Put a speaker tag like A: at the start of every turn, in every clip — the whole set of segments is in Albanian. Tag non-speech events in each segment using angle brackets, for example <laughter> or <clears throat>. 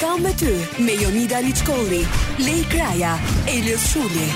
A: Kam me ty me Jonida Liçkolli, Lej Kraja, Elios Shuli.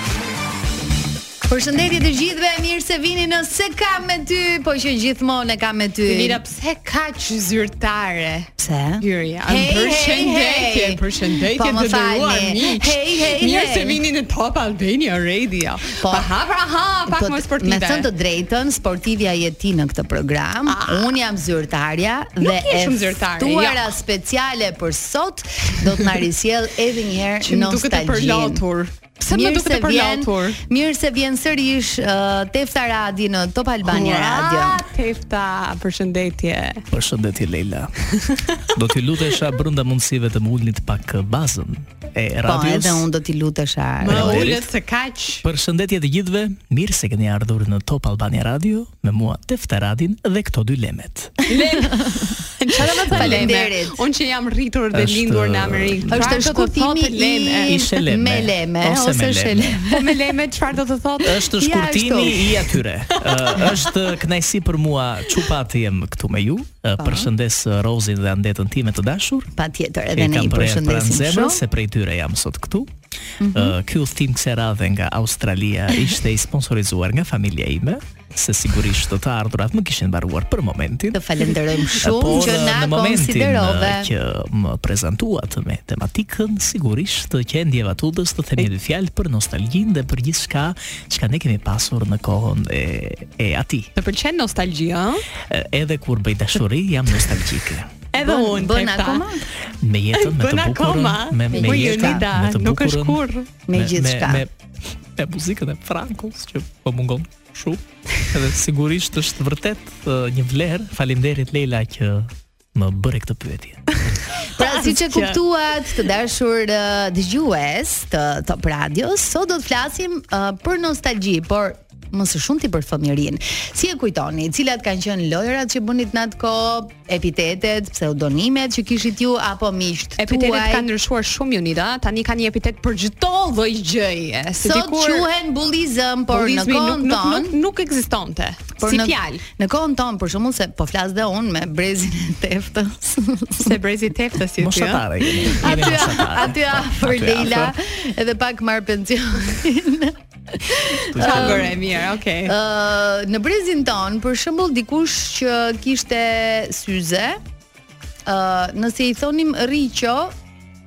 B: Përshëndetje të gjithëve, mirë se vini në Se kam me ty, po që gjithmonë e kam me ty.
C: Lira, pse ka që zyrtare?
B: pse?
C: Gjyria,
B: Hej, hej,
C: përshëndetje,
B: hej.
C: përshëndetje
B: Po,
C: të
B: më
C: nderuar
B: falni.
C: miq.
B: Hej, hej,
C: Mirë
B: hej.
C: se vini në Top Albania Radio.
B: Po.
C: Pa ha, pra ha, pak
B: Po,
C: më sportive.
B: Me thënë të drejtën, sportivja je ti në këtë program. Unë jam zyrtarja
C: Ah.
B: dhe
C: Nuk je
B: e
C: shumë jo. zyrtare,
B: ftuara speciale për sot do të na risjell edhe një
C: që
B: herë
C: më duket e
B: nostalgjinë.
C: përlotur. Pse më duket e përlotur?
B: Mirë se vjen sërish uh, Tefta Radi në Top Albania Radio.
C: Ua, Tefta, përshëndetje.
D: Përshëndetje
B: <laughs>
D: Leila. Do t'ju lutesha brenda mundësive të më ulnit pak bazën e
B: Po,
D: radios.
B: edhe unë do t'i lutesha.
C: Më
D: Faleminderit.
C: ulët se kaq.
B: <laughs>
D: Përshëndetje të gjithëve, mirë se keni ardhur në Top Albania Radio me mua Tefta Radin dhe këto dy lemet.
C: Lem. Çfarë më thënë?
B: <laughs> Faleminderit.
C: Unë që jam rritur dhe
D: Është-
C: lindur në Amerikë.
B: Është
C: çfarë do të
B: shkurtimi
C: thotë leme?
B: i
D: Ishe leme,
B: me leme
D: ose me
B: ose
D: leme.
B: sheleme.
C: Po me leme çfarë do të thotë?
B: <laughs>
D: Është
B: Ja,
D: shkurtimi
B: ashtu.
D: i
B: <laughs>
D: atyre. Ë, është kënaqësi për mua çupati jem këtu me ju. Ë,
B: Po.
D: Përshëndes ë, Rozin dhe Andetën time të dashur.
B: Patjetër,
D: E
B: edhe ne
D: kam
B: i
D: për erë pranë
B: përshëndesim
D: zemrës, se
B: shumë. Mhm.
D: prej tyre jam sot këtu. Mm Ky udhtim kësaj radhe nga Australia
B: <laughs>
D: ishte i sponsorizuar nga familja ime, se sigurisht të të ardhurat më kishin mbaruar për momentin.
B: Të falenderojmë shumë
D: por,
B: që na
D: në momentin
B: konsiderove.
D: eh, që më prezantuat me tematikën, sigurisht që e ndjeva tutës të themi dy fjalë për nostalgjinë dhe për gjithçka që ne kemi pasur në kohën e, e atij.
C: Të pëlqen nostalgjia, ëh?
D: E, Edhe kur bëj dashuri jam nostalgjike.
C: Edhe
B: Bën-
C: unë
B: bën
C: Tefta.
B: akoma?
D: Me jetën, me të
C: Bën
D: bukurën,
C: akoma.
D: me me
B: Po,
D: jetën,
C: Jonida,
D: me të bukurën.
C: nuk është kurrë.
B: Me gjithçka.
D: Me, me muzikën e Frankos që po mungon shumë. Edhe sigurisht është vërtet ë, një vlerë. Faleminderit Leila që më bëre këtë pyetje.
B: Pra siç e
C: Asgjë.
B: kuptuat, të dashur ë, dëgjues të Top Radios, sot do të flasim ë, për nostalgji, por më së shumti për fëmijërinë. Si e kujtoni, cilat kanë qenë lojrat që bënit në atë kohë, epitetet, pseudonimet që kishit ju apo miqt tuaj?
C: Epitetet kanë ndryshuar shumë Jonida, tani kanë një epitet për çdo lloj gjëje. Se
B: Sot
C: dikur
B: quhen bullizëm, por në
C: bullizmi
B: kohën
C: nuk,
B: tonë
C: nuk, nuk, nuk ekzistonte.
B: por
C: si
B: në-
C: fjalë.
B: Në kohën tonë për shembull se po flas dhe unë me brezin e teftës.
C: Se brezi teftës si ti. ëh?
D: Moshatare jemi. jemi
B: <laughs> Aty
D: moshatare.
B: aty afër
D: Aty
B: Leila
D: afër.
B: edhe pak marr <laughs> pensionin.
C: Ka bërë e mirë, okay.
B: Ë, në brezin ton, për shembull, dikush që kishte syze, ë, nëse i thonim riqo,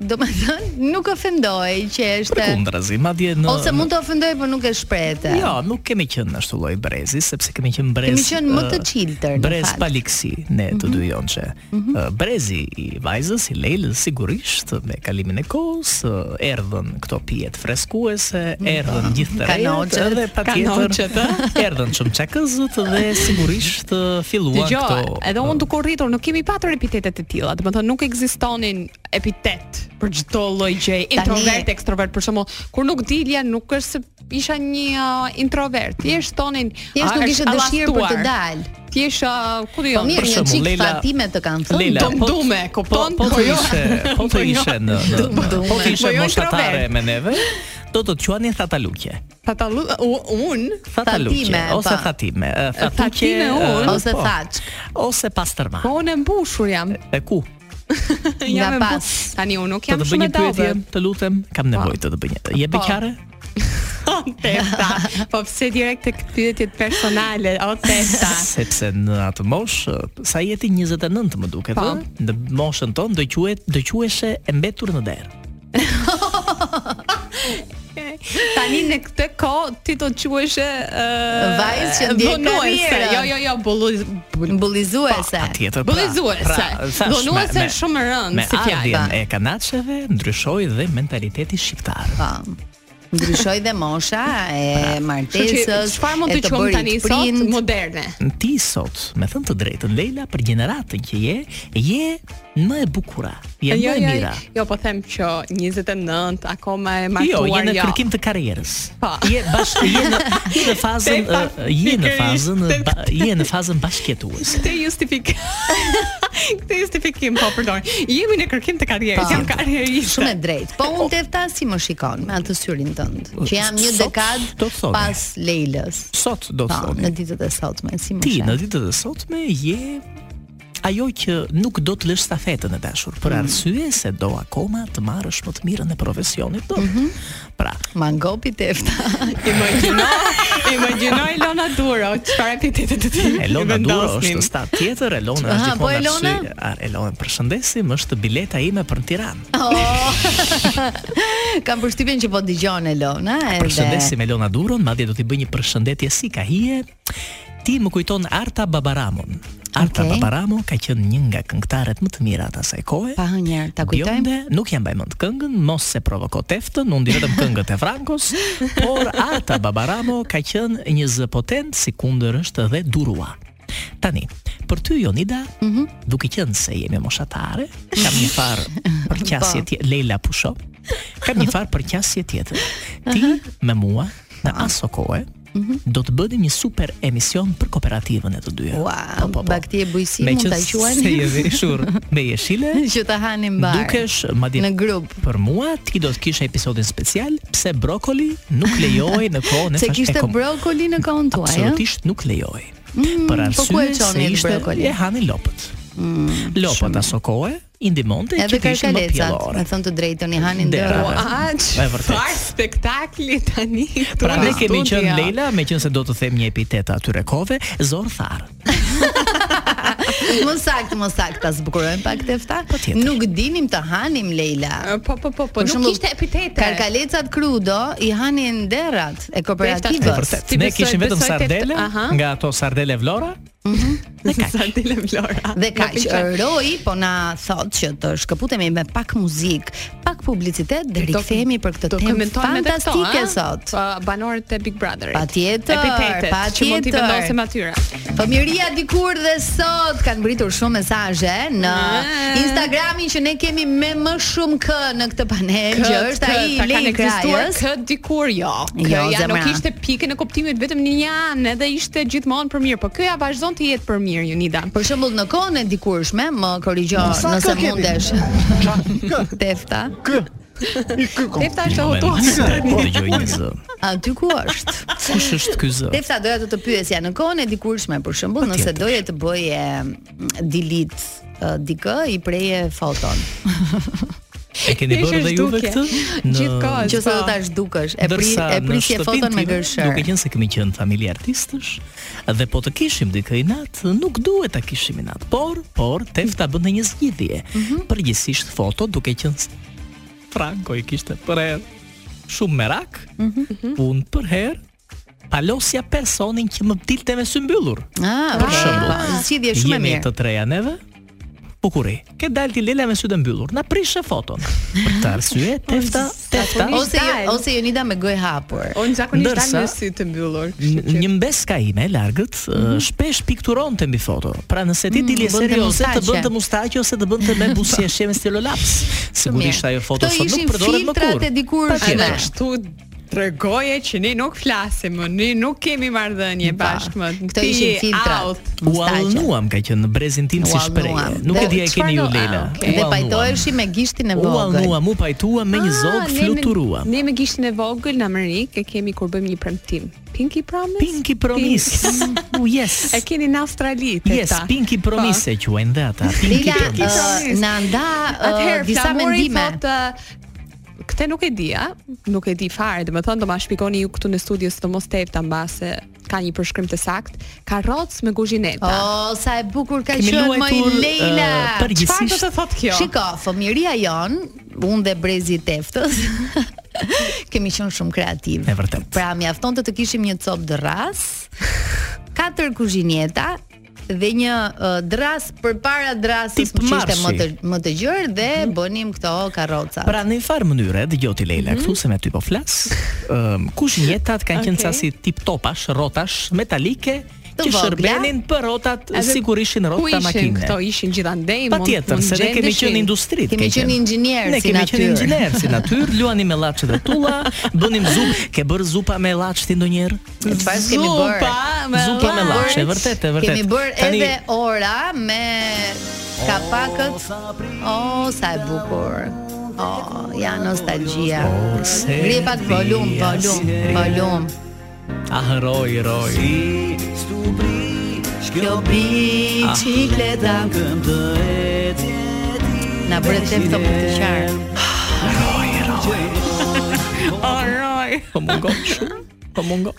B: do të thënë nuk ofendoi që është
D: Përkundrazi, madje në
B: ose mund të ofendoj por nuk e shprehte.
D: Jo, nuk kemi qenë në ashtu lloj brezi, sepse kemi qenë brez.
B: Kemi qenë më të
D: ë,
B: chillter, në
D: Brez
B: fakt. Mhm.
D: pa ligësi, ne të dy jonçe. Ë, Brezi i vajzës i Lelës sigurisht me kalimin e kohës ë, erdhën këto pijet freskuese, erdhën gjithë të rejat,
B: Mhm. Kanoqet,
D: edhe
C: kanoqet,
D: patjetër <laughs> erdhën çumçakëzët dhe sigurisht ë, filluan
C: Dgjoj,
D: këto.
C: edhe
D: ë,
C: unë duke u rritur nuk kemi patur epitetet e tilla. Do të thonë nuk ekzistonin epitet për çdo lloj gjëje, introvert, ekstrovert, për shembull, kur nuk dilja nuk është se isha një uh, introvert. Thjesht tonin,
B: Thjesht
C: "A,
B: nuk
C: është
B: ishte dëshirë për të
C: allastuar."
B: dalë.
C: Thjesht uh, ku do
B: Po
C: jam?
B: mirë,
D: për
B: një
D: shembull,
B: çik
D: Leila-
B: fatime të kanë thënë.
D: Leila,
B: do-
D: po-
C: Domdume, kupton?
D: Po, po të
C: jo.
D: ishe, po të
C: Po jo.
D: ishe në, në, në po të ishe
C: Po jo
D: moshatare
C: introvert.
D: me neve, do të të quani thataluqe.
C: Patallu, u- unë
D: Thataluqe
B: Fatime,
D: ose
B: pa.
D: fatime, ë, thatuqe,
C: Fatime unë.
D: ë,
B: Ose
D: po.
B: thaçk.
D: ose pastërma.
C: Po unë e mbushur jam.
D: E ku?
C: jam e Po,
B: pas.
C: mbushur. Tani unë nuk
D: Të
C: jam
D: të bëj
C: shumë e
D: një
C: Po.
D: pyetje,
C: dobët.
D: të lutem, kam nevojë të të bëj një. Je beqare?
C: <laughs> Testa. Po pse direkt tek pyetjet personale? O <laughs> testa.
D: Sepse në atë moshë, sa jeti 29 më duket,
C: Po.
D: ë? në moshën tonë do quhet do quheshe e mbetur në derë.
C: Tani në këtë kohë ti do të quhesh ë
B: Vajzë që ndjen
C: vonuese.
B: karrierën.
C: Jo, jo, jo, bulliz
D: Po,
B: Bullizuese.
D: Patjetër.
C: Bullizuese. Dhunuese është shumë e rëndë
D: pra, me
C: si fjalë.
D: ardhjen e kanaçeve ndryshoi dhe mentaliteti shqiptar.
B: Po. Ndryshoi dhe mosha
D: Pra.
B: e martesës.
C: çfarë mund
B: e
C: të quajmë
B: bërit
C: tani sot
B: prind.
C: moderne?
D: Ti sot, me thënë të drejtën Leila, për gjeneratën që je, je më e bukura, je më e mira.
C: jo, po them që 29 akoma e
D: Jo,
C: martuar.
D: je në kërkim të karrierës.
C: Po.
D: Je bash je në je në fazën
C: Tepa,
D: ë, je në
C: pikërisht,
D: fazën ë,
C: tepa.
D: ba- je në fazën bashkëtuese.
C: Këtë justifik. <laughs> Këtë justifikim po përdor. Jemi në kërkim të karrierës,
B: Po.
C: jam karrieriste.
B: Shumë e drejtë. Po unë tefta si më shikon me atë syrin tënd, që jam një
D: Po, Sot do
B: dekadë
D: të thoni.
B: pas Leilës.
D: Sot do të
B: Po,
D: thoni.
B: në ditët e sotme si më
D: Ti
B: shef.
D: në ditët e sotme je ajo që nuk do të lësh stafetën e dashur për arsye se do akoma të marrësh më të mirën e profesionit tënd. Pra,
B: Mangopi tefta. <laughs>
C: Imagjino, imagjino Elona Duro, çfarë epitete të tij.
D: Elona Duro është stat tjetër, Elona
B: Aha,
D: është
B: po,
D: gjithmonë
B: Elona?
D: arsye. A, Elona, përshëndesim, është bileta ime për në Tiranë.
B: Kam përshtypjen që po dëgjon Elona, edhe
D: Përshëndesim Elona Duron, madje do t'i bëj një përshëndetje si ka hije. Ti më kujton Arta Babaramon. Arta
B: Okej.
D: Babaramo ka qenë një nga këngëtarët më të mira të asaj kohe.
B: pa hënjer, ta kujtojmë.
D: Bjonde, nuk jam bajmën të këngën, mos se provoko teftën, unë di vetëm këngët e Frankos,
B: <laughs>
D: por Arta Babaramo ka qenë një zë potent, si kundër është dhe Durua. Tani, për ty Jonida,
B: Mhm.
D: duke qenë se jemi moshatare, kam një
B: <laughs>
D: farë përqasje
B: Po.
D: tjetër, Leila Pusho, kam një farë përqasje tjetër. Ti me mua, në
B: Po.
D: aso kohë,
B: Mhm.
D: do të bëni një super emision për kooperativën e të dyja.
B: Ua,
D: Po, po, po.
B: bakti e bujqësi,
D: Me
B: mund
D: që
B: ta quajmë?
D: Se jemi shurë me jeshile,
B: <laughs> Që ta hanim bar.
D: Dukesh madje
B: në grup.
D: Për mua ti do të kishe episodin special pse brokoli nuk lejohej në kohën e
B: Se
D: fash- e
B: kishte
D: kom-
B: brokoli në kohën tuaj, ëh?
D: Absolutisht nuk lejohej. për
B: po ku e
D: arsye se
B: qoni atë
D: ishte
B: brokolin?
D: e hanin lopët. lopët aso kohë i ndimonte që
B: Edhe
D: të ishin më
B: karkalecat, me
D: pjellore.
B: thënë të drejtën, i hanin
D: Dera.
B: derave.
C: Ua,
D: E vërtet.
C: çfarë spektakli tani këtu.
D: Pra ne
C: në
D: kemi qenë
C: studio.
D: Leila, meqense do të them një epitet atyre kove, zor tharr.
B: <laughs> Më sakt, më sakt, ta zbukurojmë pak tefta.
D: Po tjetër.
B: Nuk dinim të hanim Leila.
C: Po po po po,
B: Për
C: nuk
B: shembull,
C: kishte epitete.
B: Karkalecat krudo i hanin derrat e
D: E
B: kooperativës.
D: vërtet.
C: Ti
D: Ne
C: besoj-
D: kishim vetëm
C: besoj tet-
D: sardele,
C: aha.
D: nga ato sardele Vlora,
C: Sardile Flora.
B: Dhe
C: Më
B: kaq,
C: pëlqen.
B: Roi po na thot që të shkëputemi me pak muzikë, pak publicitet dhe
C: Do-
B: rikthehemi për këtë
C: do
B: temë
C: komentojmë edhe këto,
B: fantastike
C: ha?
B: sot.
C: Pa banorët e Big Brotherit.
B: Patjetër,
C: Epitetet që mund t'i
B: patjetër.
C: vendosem atyre.
B: Fëmijëria Po dikur dhe sot kanë mbritur shumë mesazhe në
C: Ah.
B: Instagramin që ne kemi me më shumë k në këtë panel, që është
C: Kë-
B: ai
C: ta kanë
B: Lei
C: ekzistuar
B: Krajës.
C: kë dikur jo. Kë
B: Jo,
C: ja nuk
B: zemra.
C: ishte pikën e kuptimit vetëm në një anë, edhe ishte gjithmonë për mirë, por kjo ja vazhdon të jetë për mirë, Jonida.
B: Për shembull në kohën e dikurshme, më korrigjo
E: Sa
B: nëse
E: kë kemi?
B: mundesh.
E: Qa? Kë?
B: Tefta,
E: Kë? I kë kom?
C: Tefta është e
D: Moment,
C: hotuar.
D: po dëgjoj një zë.
B: aty ku është?
D: Kush është ky zë?
B: Tefta doja të të pyesja në kohën e dikurshme për shembull, nëse
D: Patjetër.
B: doje të bëje mm, delete eh, dikë i preje foton.
D: E keni
C: Ishte
D: bërë dhe juve
C: zhdukje.
D: këtë? Në-
C: Gjithkohë.
B: Nëse
C: Po.
B: do ta zhdukësh, e pri
D: Ndërsa
B: e
D: në
B: prisje
D: shtëpinë
B: foton me
D: time,
B: gërshër.
D: Duke qenë se kemi qenë familje artistësh dhe po të kishim dikë i nat, nuk duhet ta kishim i nat, por por tefta bënte një zgjidhje.
B: Mhm.
D: Përgjithsisht foto duke qenë s- Franco i kishte për herë shumë merak,
B: Mhm.
D: unë për herë palosja personin që më dilte me sy mbyllur.
B: Ah,
D: Për
B: okay.
D: shembull,
B: Po, Zgjidhje shumë e
D: jemi
B: mirë.
D: të treja neve. Bukuri, ke dalë ti Lela me sy të mbyllur, na prishe foton. Për
B: <laughs>
D: këtë arsye, tefta, tefta
C: zakonisht
B: Ose jo,
C: Ishtal.
B: ose Jonida me gojë hapur.
C: Unë zakonisht dal
D: Ndërsa-
C: me sy të mbyllur.
D: N-
C: kështu që-
D: Një mbeska ime e largët mm shpesh pikturon të mbi foto. Pra nëse ti dilje
B: bënte
D: serioze të
B: mustaqe.
D: bënte mustaqe ose të bënte me buzë shem stilo laps. Sigurisht ajo foto
B: Këto
D: sot nuk
B: ishin
D: përdoret më
B: filtrat
D: kurrë.
B: e dikurshme.
C: Edhe
D: Patjetër.
C: kështu tregoje që ne nuk flasim, më, ne nuk kemi marrëdhënie
B: Pa,
C: bashkë më.
B: Këto
C: Ti
B: ishin filtrat.
C: out.
D: U allnuam ka qenë në brezin tim si
B: U
D: shprehje.
B: allnuam.
D: Nuk e
B: Dhe
D: di e keni
C: çfarë
D: ju
C: do-
D: Lela.
C: Ah, okay.
D: U
B: Dhe
D: allnuam.
B: pajtoheshi me gishtin e
D: U
B: vogël.
D: allnuam, u pajtuam me një
C: Ah,
D: zog
C: ne me-
D: fluturuam.
C: Ne me gishtin e vogël në Amerikë e kemi kur bëjmë një premtim. Pinky Promise?
D: Pinky Promise. Mm, U yes.
C: E keni në Australi Po. tek
D: Yes, Pinky Promise e quajnë dhe ata. Pinky
B: Leila uh,
D: Promise.
B: ë, na nda ë,
C: Atëherë
B: disa
C: Flamori
B: mendime.
C: thot ë, Këtë nuk e di, a? Nuk e di fare, dhe më thonë do ma shpikoni ju këtu në studio së të mos tepta mbase ka një përshkrim të sakt. Karroc me guzhineta.
D: Oh,
B: O, sa e bukur ka
D: Kemi
B: qenë më i
D: luajtur,
B: Leila.
D: ë,
C: Çfarë
D: përgjithsisht-
C: do të thotë kjo?
B: Shiko, fëmijëria jon, unë dhe brezi i teftës, <laughs> kemi qenë shumë kreativ.
D: E vërtet.
B: Pra mjafton të të kishim një copë dërras, katër kuzhinjeta dhe një uh, dras përpara drasës
D: Tip
B: që ishte
D: marshi. Mhm.
B: më të më të gjerë dhe bënim këto karroca.
D: Pra në një farë mënyre, dëgjoj ti Leila,
B: Mhm.
D: këtu se me ty po flas. Ëm kush njetat kanë qenë
C: Okej.
D: ca si tip topash, rrotash metalike
B: Të
D: që
B: vogla.
D: shërbenin për rrotat
C: Edhe
D: sigurisht ishin
C: Ku
D: rrota
C: ishin
D: makine.
C: këto? Ishin gjithandej, mund
D: Patjetër,
C: mund
D: se ne kemi
C: gjendeshin.
D: qenë industri.
B: Kemi qenë inxhinier
D: Ne
B: si
D: kemi qenë
B: natyrë.
D: inxhinier
B: <laughs>
D: si natyrë, luani me llaçe dhe tulla, bënim zupë. Ke bërë zupa me llaç ti ndonjëherë?
B: E çfarë kemi bërë?
C: Zupa me
D: Zupa me
C: llaç.
D: llaç, e vërtet, e vërtet.
B: Kemi bërë
D: Tani-
B: edhe ora me kapakët. O, sa e bukur. O, ja nostalgjia.
D: se
B: Gri pak volum,
D: ti
B: volum,
D: asnjëherë-
B: volum.
D: Ah, roj, roj.
B: Kjo
D: Ah.
B: bicikleta
D: Këndë e tjeti
B: Na bëre të të për të qarë
C: Oroj.
D: Po mungon shumë Po mungon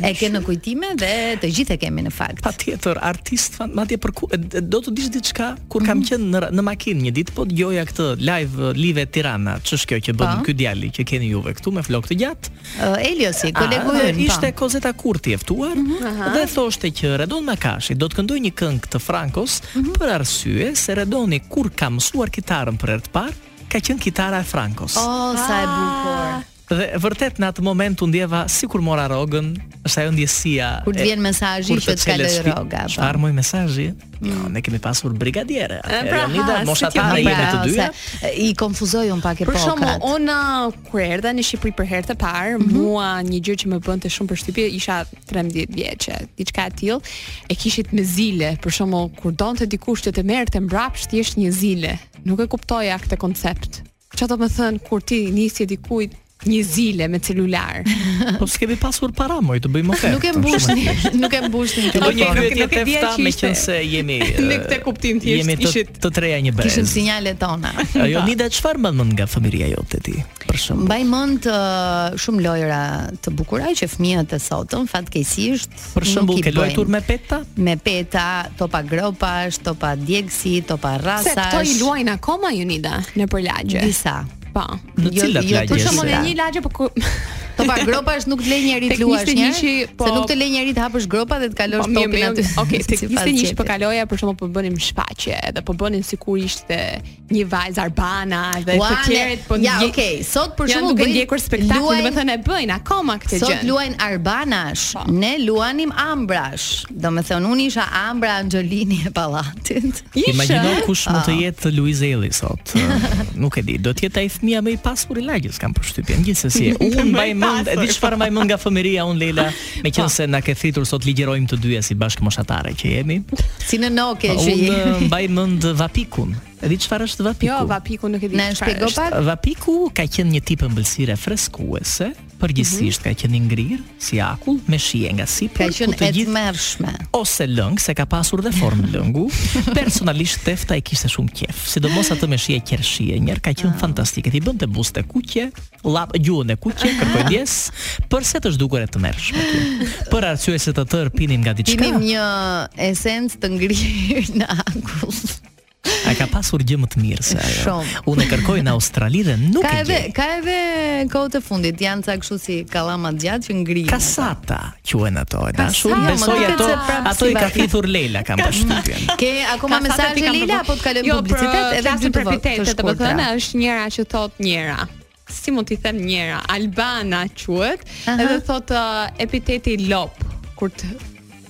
B: E ke në kujtime dhe të gjithë e kemi në fakt
D: Pa tjetër, artist, fan- madje për ku, e- e- do të dish diçka kur
B: Mhm.
D: kam qenë në, ra- në makinë një ditë, po dëgjoja këtë live uh, live Tirana, ç'është kjo që bën
B: Po.
D: ky djali që keni juve këtu me flokë të gjatë.
B: Ë, Uh, Eliosi, kolegu
D: A,
B: ynë
D: Ah,
B: po.
D: Ishte
B: Ishte
D: Kozeta Kurti e ftuar
B: Mhm.
D: dhe thoshte që Redon Makashi do të këndoj një këngë të Frankos
B: Mhm.
D: për arsye se Redoni kur ka mësuar kitarën për herë të parë, ka qenë kitara e Frankos.
B: O, sa e bukur
D: Dhe vërtet në atë moment u ndjeva sikur mora rogën, është ajo ndjesia
B: Kur të
D: e-
B: vjen mesazhi
D: kur
B: që të kaloj
D: çelet shtëpi.
B: rroga, po.
D: Çfarë moj mesazhi? Jo, ne kemi pasur brigadiere.
C: Mm. pra,
D: Leonida
C: ha, si
D: moshatare
B: Po,
D: jemi të
B: pra,
D: dyja.
B: ose, e, I konfuzoj unë pak e
C: Për
B: pokat
C: shembull, ona kur erdha në Shqipëri për herë të parë,
B: Mhm.
C: mua një gjë që më bënte shumë përshtypje, isha 13 vjeçë, diçka e tillë, e kishit me zile, për shembull, kur donte dikush që të merrte mbrapsht thjesht një zile. Nuk e kuptoja këtë koncept. Çfarë do të thënë kur ti nisje dikujt një zile me celular?
B: <laughs>
D: Po s'kemi pasur para moj të
C: <laughs>
D: bëjmë ofertë.
B: Nuk e mbushni, <laughs> nuk e mbushni
D: Të bëj një
C: Nuk-
D: pyetje
C: nuk e
D: të
C: dija
D: fta
C: që
D: me
C: ishte.
D: qenë se jemi
C: <laughs> Në
D: e,
C: këtë kuptim thjesht
D: jemi të,
C: ishit-
D: të treja një brez.
B: Kishim sinjalet tona.
C: <laughs>
D: Jo, Nida, çfarë mban mend nga familja jote ti? Për shembull,
B: Mbaj mend ë, shumë lojra të bukura që fëmijët e sotëm fatkeqësisht
D: për shembull
B: nuk i
D: ke luajtur
B: bëjnë.
D: me peta?
B: me peta, topa gropash, topa djegsi, topa
C: Se
B: rasash.
C: këto i luajnë akoma Jonida në përlagje.
B: disa.
C: Po.
D: Në
B: Jo-
D: cilat
B: jo
D: lagje?
B: të
C: Për
B: Yes.
C: shembull, në
B: Disa.
C: një lagje po ku- <laughs>
B: Topa gropash nuk të lej njerit
C: Tek
B: luash një,
C: 21-shi, po-
B: se nuk të lej njerit hapësh gropa dhe të kalosh
C: Po, mirë,
B: topin
C: mirë,
B: aty. <laughs>
C: Okej, tek
B: sipas
C: 21 po
B: qepit.
C: kaloja për shkakun po bënim shfaqje dhe po bënin sikur ishte një vajzë arbana dhe
B: Ua,
C: të
B: ne-
C: tjerët po
B: ja, okej, sot për
C: janë
B: shembull
C: duke
B: bëjnë-
C: ndjekur spektaklin,
B: luajnë-
C: do të thënë e bëjnë akoma këtë gjë.
B: Sot luajnë arbanash,
C: Po.
B: ne luanim ambrash. Do me thënë, unë isha ambra Angelini e palatit.
D: Imagjino kush mund të jetë Luiz Eli
B: <laughs>
D: sot. Ë, Nuk e di, do të jetë ai fëmia më i pasur i lagjes, kam përshtypjen.
B: <laughs>
D: Gjithsesi, unë mbaj mend, e di çfarë mbaj mend nga fëmijëria unë Leila, meqense
B: Po.
D: na ke thritur sot ligjërojmë të dyja si bashkë moshatare që jemi.
B: Si në noke që
D: Po,
B: jemi.
D: Unë <laughs> ë, mbaj mend vapikun. E di çfarë është vapiku?
C: Jo, vapiku nuk e di.
B: Na
C: çfarë
B: shpjego
C: është.
B: pak?
D: Vapiku ka qenë një tip ëmbëlsire freskuese, përgjithsisht ka qenë i ngrirë, si akull, me shije nga
B: Mhm. Ka
D: sipër, ku
B: qenë
D: të
B: e
D: gjithë-
B: mërshme.
D: ose lëng, se ka pasur dhe
B: <laughs>
D: formë lëngu. Personalisht Tefta e kishte shumë qef, sidomos atë me shije qershie. Njërë ka
B: Ah.
D: qenë fantastike, ti bënte buste kuqe, llap gjuhën e kuqe,
B: <laughs>
D: kërkoj ndjes, përse të zhdukur e të mershme ty. Për arsye se të tërë pinin nga diçka.
B: Pinim një esencë të ngrirë në akull.
D: A ka pasur gjë më të mirë se ajo.
B: Shumë.
D: Unë e kërkoj në Australi dhe nuk
B: Ka
D: e
B: edhe
D: gjej.
B: ka edhe kohë të fundit, janë ca kështu si kallama të gjatë që ngrihen.
D: Kasata quhen ato e dashur.
B: Kasata,
D: Besoj
B: më duket
D: ato
B: se prapë
D: ato
B: si
D: i ka
B: vapi.
D: thithur Leila
B: <laughs>
D: kam përshtypjen.
B: Ke akoma
C: Ka sa të
B: mesazhe
C: pikam
B: Leila
C: përvoj.
B: apo po të kalojmë publicitet
C: Jo, për
B: edhe
C: klasën
B: dy të vë- të
C: përpitete,
B: shkurtra.
C: domethënë është njëra që thot njëra. Si mund t'i them njëra? Albana quhet,
B: Aha.
C: edhe thot uh, epiteti lop kur të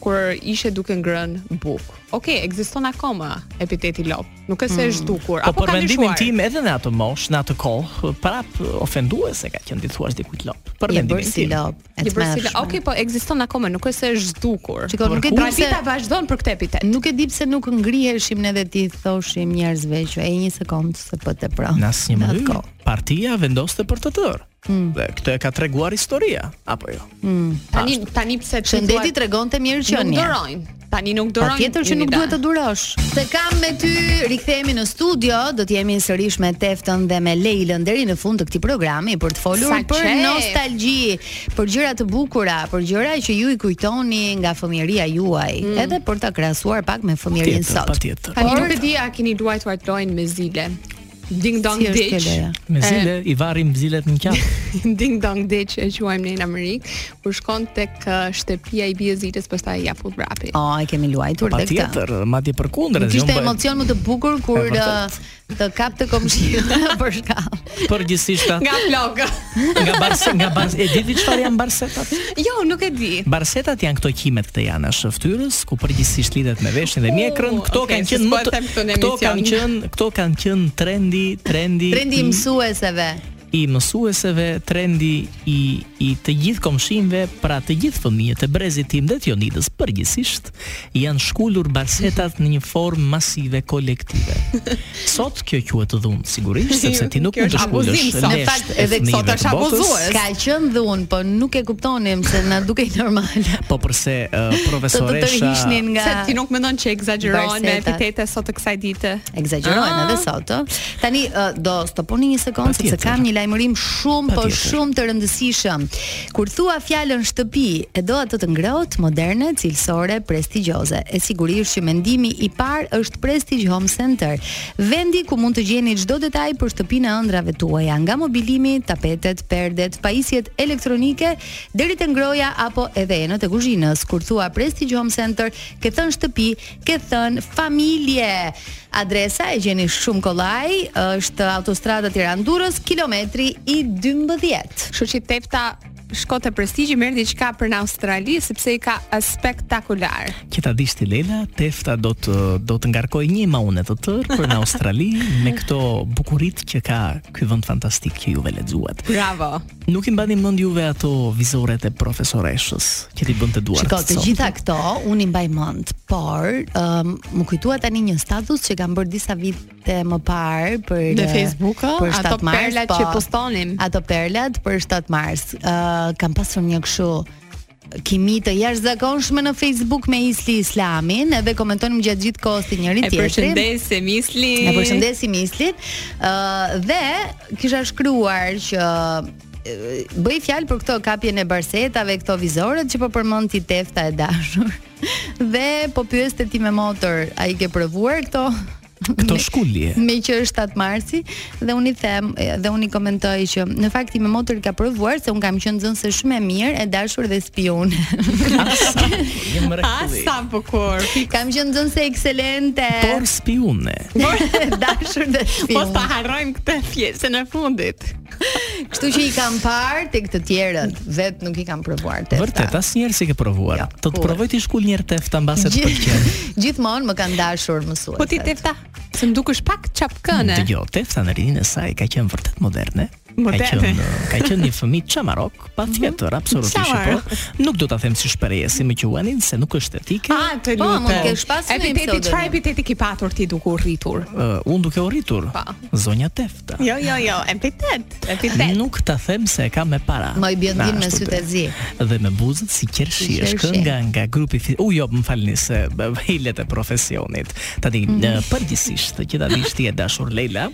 C: kur ishe duke ngrënë buk. Okej, ekziston akoma epiteti lop. Nuk është se
B: Hmm.
C: është dukur,
D: Po
C: apo
D: për
C: ka
D: mendimin
C: ndryshuar.
D: tim edhe në atë moshë, në atë kohë, prap ofenduese ka qenë ti thuash dikujt lop. Për
B: Je bërë
D: mendimin
B: si
D: tim.
B: lop, e
C: Një
B: të
C: përsi-
B: mërshme.
C: Okej, po ekziston akoma, nuk është se është dukur.
B: Shiko, nuk e di pse-
C: Tradita vazhdon për këtë epitet.
B: Nuk e di pse nuk ngriheshim ne dhe ti thoshim njerëzve që e një sekond se po të pra.
D: Në asnjë
B: atë
D: mënyrë
B: kohë. Mm.
D: partia vendoste për të tërë. Dhe këtë e ka treguar historia, apo jo?
C: Tani tani pse ti
B: Shëndeti
C: thua-
B: tregonte mirë që
C: nuk
B: një.
C: durojnë. Tani nuk durojnë.
B: Patjetër që nuk
C: Unida.
B: duhet të durosh. Se kam me ty, rikthehemi në studio, do të jemi sërish me Teftën dhe me Leilën deri në fund të këtij programi për të folur
C: Sa
B: për
C: qef!
B: nostalgji, për gjëra të bukura, për gjëra që ju i kujtoni nga fëmijëria juaj, edhe për ta krahasuar pak me fëmijërinë
D: Patjetër,
B: sot.
D: patjetër.
C: Tani nuk e di a keni luajtur atë lojën me zile. Ding dong
B: Si është kjo
C: ditch. Eh,
B: loja?
D: Me zile
B: Eh.
D: i varim zilet në
B: <laughs>
D: qafë.
C: <laughs> Ding dong ditch e quajmë ne në Amerikë, kur shkon tek uh, shtëpia i bie zilës, pastaj i jap vrapi.
B: O, e kemi luajtur dhe këtë.
D: Patjetër, madje përkundër.
B: Nuk
D: se
B: Kishte
D: unë bëj-
B: emocion më të bukur kur
D: E
B: ë,
D: vërtet.
B: të kap të komshiu <laughs> për shkallë. <laughs>
D: Përgjithsisht atë-
C: Nga flokë.
D: nga barse, nga barse, e di çfarë janë barsetat?
C: jo, nuk e di.
D: Barsetat janë këto qimet këte janë është fytyrës, ku përgjithsisht lidhet me veshin dhe mjekrën. Këto
C: okay,
D: kanë
C: se
D: qenë
C: s'po
D: më
C: e them këtu në
D: këto
C: emision.
D: kanë qenë, këto kanë qenë trendi, trendi.
B: Trendi i mësueseve.
D: i mësueseve, trendi i i të gjithë komshinëve, pra të gjithë fëmijët e brezit tim dhe të Jonidës përgjithsisht janë shkulur barsetat në një formë masive kolektive.
C: <laughs>
D: Sot kjo quhet dhunë sigurisht, sepse ti nuk
C: Kjo
D: mund të
C: është
D: shkulësh.
C: abuzim sot.
D: lesht
C: Në fakt,
D: e
C: edhe
D: fëmijëve
C: sot
D: të
C: është
D: botës,
C: abuzues.
B: Ka qenë dhun, po nuk e kuptonim se na dukej
D: <laughs>
B: normale.
D: Po
C: <laughs>
D: përse uh,
B: Të të
D: profesoresha
B: tërhiqnin nga
C: Se ti nuk mendon që egzagjerohen me
B: Barsetat.
C: epitete sot të kësaj dite.
B: Egzagjerojnë edhe sot, ë. Tani ë, do stoponi një sekond sepse
D: Ah. Patjetër.
B: kam një lajmërim shumë po
D: Patjetër.
B: shumë të rëndësishëm. Kur thua fjalën shtëpi, e do atë të ngrohtë, moderne, cilësore, prestigjioze. E sigurisht që mendimi i parë është Prestige Home Center, vendi ku mund të gjeni çdo detaj për shtëpinë e ëndrave tuaja, nga mobilimi, tapetet, perdet, pajisjet elektronike deri te ngroja apo edhe enët e kuzhinës. Kur thua Prestige Home Center, ke thën shtëpi, ke thën familje. Adresa e gjeni shumë kollaj, është autostrada Tiranë-Durrës, kilometri i 12.
C: Kështu që Tefta shko te prestigji merr diçka për në Australi sepse i ka spektakular.
D: që ta dish ti Lela, Tefta do të do të ngarkoj një maune të tërë për në Australi me këto bukuritë që ka ky vend fantastik që juve lexuat.
C: Bravo.
D: Nuk i mbani mend juve ato vizoret e profesoreshës që ti bën të duart.
B: Shiko, të
D: sot.
B: gjitha këto unë i mbaj mend, por um, më kujtua tani një status që kam bërë disa vite më parë për
C: Në
B: eh,
C: Facebook,
B: për
C: ato
B: 7 mars,
C: perlat
B: po,
C: që postonim.
B: Ato perlat për 7 mars. Uh, kam pasur një kështu kimi të jashtëzakonshme në Facebook me Isli Islamin, edhe komentonim gjatë gjithë kohës të njëri
C: E
B: tjetrin.
C: përshëndesim Isli.
B: Ne përshëndesim Islin. Ë dhe kisha shkruar që eh, bëj fjalë për këto kapjen e barsetave, këto vizoret që po përmend ti tefta e dashur. <laughs> Dhe po pyeste ti me motor, a i ke provuar këto?
D: këto shkullje.
B: me që është 7 marsi dhe unë i them eh, dhe unë i komentoj që në fakt i me motor ka provuar se unë kam qenë nxënëse shumë e mirë, e dashur dhe
D: <laughs>
B: spione.
D: Asa, një
C: A
D: mrekulli.
C: sa bukur.
B: kam qenë nxënëse ekselente.
D: Por spiune.
B: <laughs> e dashur dhe spione.
C: Mos ta Po harrojmë këtë pjesën e fundit.
B: Kështu që i kam parë tek të tjerët, vet nuk i kam provuar testa.
D: Vërtet, asnjëherë si ke provuar.
B: Jo,
D: të të
B: kur.
D: provoj ti shkull një herë Tefta mbase të
B: Gjith-
D: pëlqen.
B: <laughs> Gjithmonë më kanë dashur mësuesit.
C: Po ti Tefta, se më dukesh pak çapkëne.
D: Dëgjoj, Tefta në rinin e saj ka qenë vërtet moderne.
C: Moderne. Mhm.
D: Ka qenë ka qenë një fëmijë çamarok, patjetër, absolutisht po.
C: Çamar.
D: Nuk do ta them si shprehje, si më quanin, se nuk është etike.
C: A, të
B: Po,
C: lutem.
B: mund të kesh pasur një
C: Epiteti,
B: pseudonim.
C: çfarë epiteti ke patur ti duke u rritur?
D: Uh, unë duke u rritur.
C: Pa.
D: Zonja Tefta.
C: Jo, jo, jo, epitet, epitet.
D: Nuk ta them se e kam me para.
B: Më i bjendin
D: Na,
B: me
D: ashtu
B: sytë e
D: të.
B: zi.
D: Dhe me buzët si qershi,
B: Si
D: është
B: qershi.
D: kënga nga grupi fi... U jo, më falni se bë- hilet e profesionit. Tani
B: Mhm.
D: mm. përgjithsisht, që ta dish ti e dashur Leila,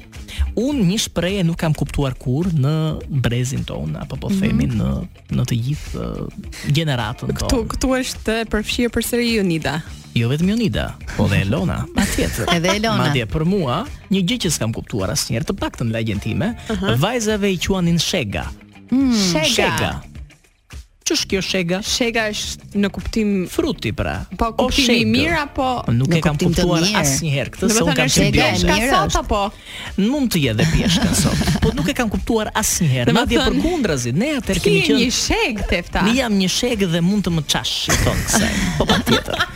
D: unë një shprehje nuk kam kuptuar kur në brezin ton apo
B: Mhm.
D: po themi në në të gjithë eh, gjeneratën tonë.
C: Këtu këtu është përfshirë përsëri Unida.
D: Jo vetëm Jonida, po dhe Elona,
B: <laughs>
D: patjetër.
B: Edhe Elona.
D: Madje për mua, një gjë që s'kam kuptuar asnjëherë, të paktën lagjen time, vajzave i quanin shega.
C: Hmm, Shega.
D: Ç'është kjo shega?
C: Shega është në kuptim
D: Fruti pra.
C: po
D: O
C: kuptimi i
D: shegë.
C: mirë apo
D: Nuk
B: Në
D: e kam
B: kuptim të
D: kuptuar
B: mirë.
D: asnjëherë këtë,
C: Do
D: se
C: të
D: unë
C: thënë
D: kam
C: është
D: qenë
B: shega e
D: biolog.
C: pjeshka
B: mirë
C: sot
B: është.
C: apo?
D: Mund të jetë dhe pjeshka sot, po nuk e kam kuptuar asnjëherë.
C: Dhe më
D: Madje
C: thënë,
D: përkundrazi, ne atëherë
C: Ti
D: kemi
C: je
D: qenë
C: një sheg Tefta.
D: Ne jam një shegë dhe mund të më çash, i thon kësaj. Po patjetër.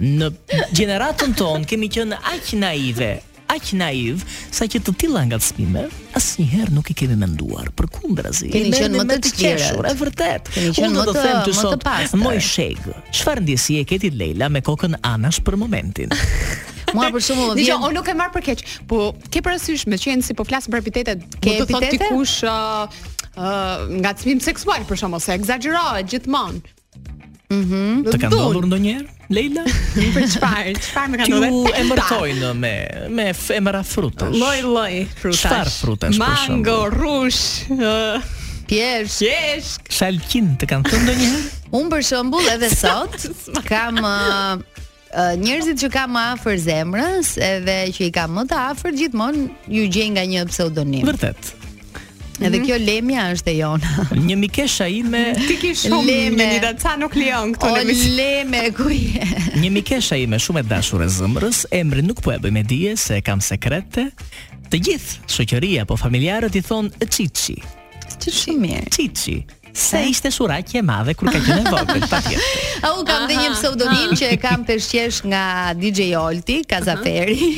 D: Në gjeneratën tonë kemi qenë aq naive, aq naiv, sa që të tilla ngacmime asnjëherë nuk i kemi menduar. Përkundrazi,
B: Keni
D: i
B: qenë
D: merrni
B: më
D: me
B: të tjerët.
D: qeshur, e vërtet.
B: Keni qenë
D: Unë do
B: më
D: të
B: të-
D: them ty
B: më të
D: sot,
B: pastër.
D: moj shegë, çfarë ndjesie e ke ti Leila me kokën anash për momentin?
B: Mua për shkakun më
C: Dgjoj,
B: vjen
C: unë nuk e marr për keq, po ke parasysh me qenë si po flas për epitetet,
B: Ke
C: mund të thotë
B: epitete?
C: dikush ë uh, ngacmim seksual për shkak se ekzagjerohet gjithmonë. Mhm.
D: Të ka ndodhur ndonjëherë Leila?
C: për çfarë? <laughs> Çfarë më kanë
D: Ju
C: ndodhur?
D: emërtojnë me me f- emra frutash.
C: Lloj lloj frutash.
D: Çfarë frutash, për
C: Mango,
D: shembull?
C: rush, ë,
B: pjesh.
C: qeshk.
D: Shalqin të kanë thënë ndonjëherë?
B: Unë për shembull edhe
C: <laughs>
B: sot kam uh, uh, njerëzit që kam më afër zemrës edhe që i kam më të afër gjithmonë ju gjej nga një pseudonim.
D: Vërtet.
B: Edhe kjo lemja është e jona.
C: <laughs>
D: Një mikesha ime
C: Ti ke shumë
B: Leme.
C: me një daca nuk lejon këtu
B: O
C: në mision.
B: leme ku je?
D: Një mikesha ime shumë e dashur e zemrës, emrin nuk po e bëj me dije se e kam sekrete. Të gjithë shoqëria apo familjarët i thon Çiçi.
B: Ti shumë mirë.
D: Çiçi. Se ishte suraqje e madhe kur ka qenë e vogël, patjetër.
B: A u kam dhe një pseudonim
C: <laughs>
B: që e kam peshqesh nga DJ Olti, Kazaferi.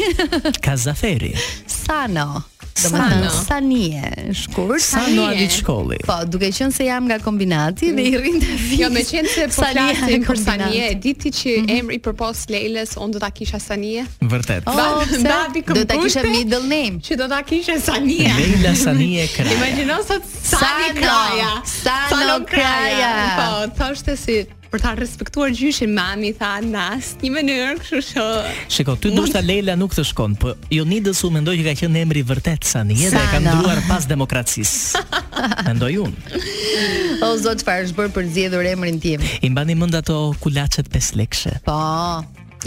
D: Kazaferi.
B: <laughs> Sano. domethënë
C: Sano.
B: Sanie, shkurt.
D: Sa
C: Tani
D: noa
C: e.
D: ditë shkolli.
B: Po, duke qenë se jam nga kombinati dhe i rrinte fis.
C: Jo, me qenë se po
B: Sania e
C: flasim për
B: kombinati.
C: Sanie, e diti që emri përpos Lejles, unë do ta kisha Sanie,
D: Vërtet.
B: Oh,
C: Babi-
B: pse?
C: babi
B: do ta kishe
C: këmbushte?
B: middle name.
C: që do ta kishe Sania.
D: Leila
C: <laughs>
D: Sanie Kraja.
C: Imagjino sot
B: Sano,
C: Sani Kraja.
B: Sano Kraja.
C: Po, thoshte si për ta respektuar gjyshin mami tha në asnjë mënyrë, kështu që
D: Shiko, ty ndoshta Leila nuk të shkon, po Jonidës u mendoj që ka qenë emri vërtet Sanie dhe e ka
B: Sano.
D: ndruar pas demokracisë. Mendoj unë.
B: O zot çfarë është bërë për zgjedhur emrin tim.
D: I mbani mend ato kulaçet 5 lekëshe.
B: Po,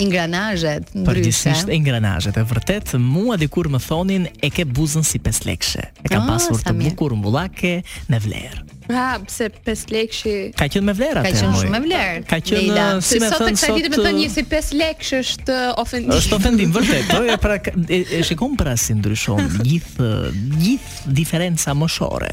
B: ingranazhet ndryshe.
D: Përgjithsisht ingranazhet e vërtet mua dikur më thonin e ke buzën si 5 lekëshe. E ka
B: Ah,
D: pasur
B: sa
D: të
B: mirë.
D: bukur mbullake me vlerë.
C: ha pra, pse pesë lekshi
D: Ka qenë me vlerë
B: Ka
D: atë.
B: qenë
D: moj.
B: shumë me vlerë.
D: Ka qenë
B: Leila.
D: si më
C: sot
D: thënë
C: kësaj
D: sot.
C: ditë më thënë një
D: ë,
C: si 5 lekësh është ofendim.
D: është ofendim vërtet, po e pra e, e shikon pra si ndryshon
B: <laughs>
D: gjithë gjithë diferenca moshore.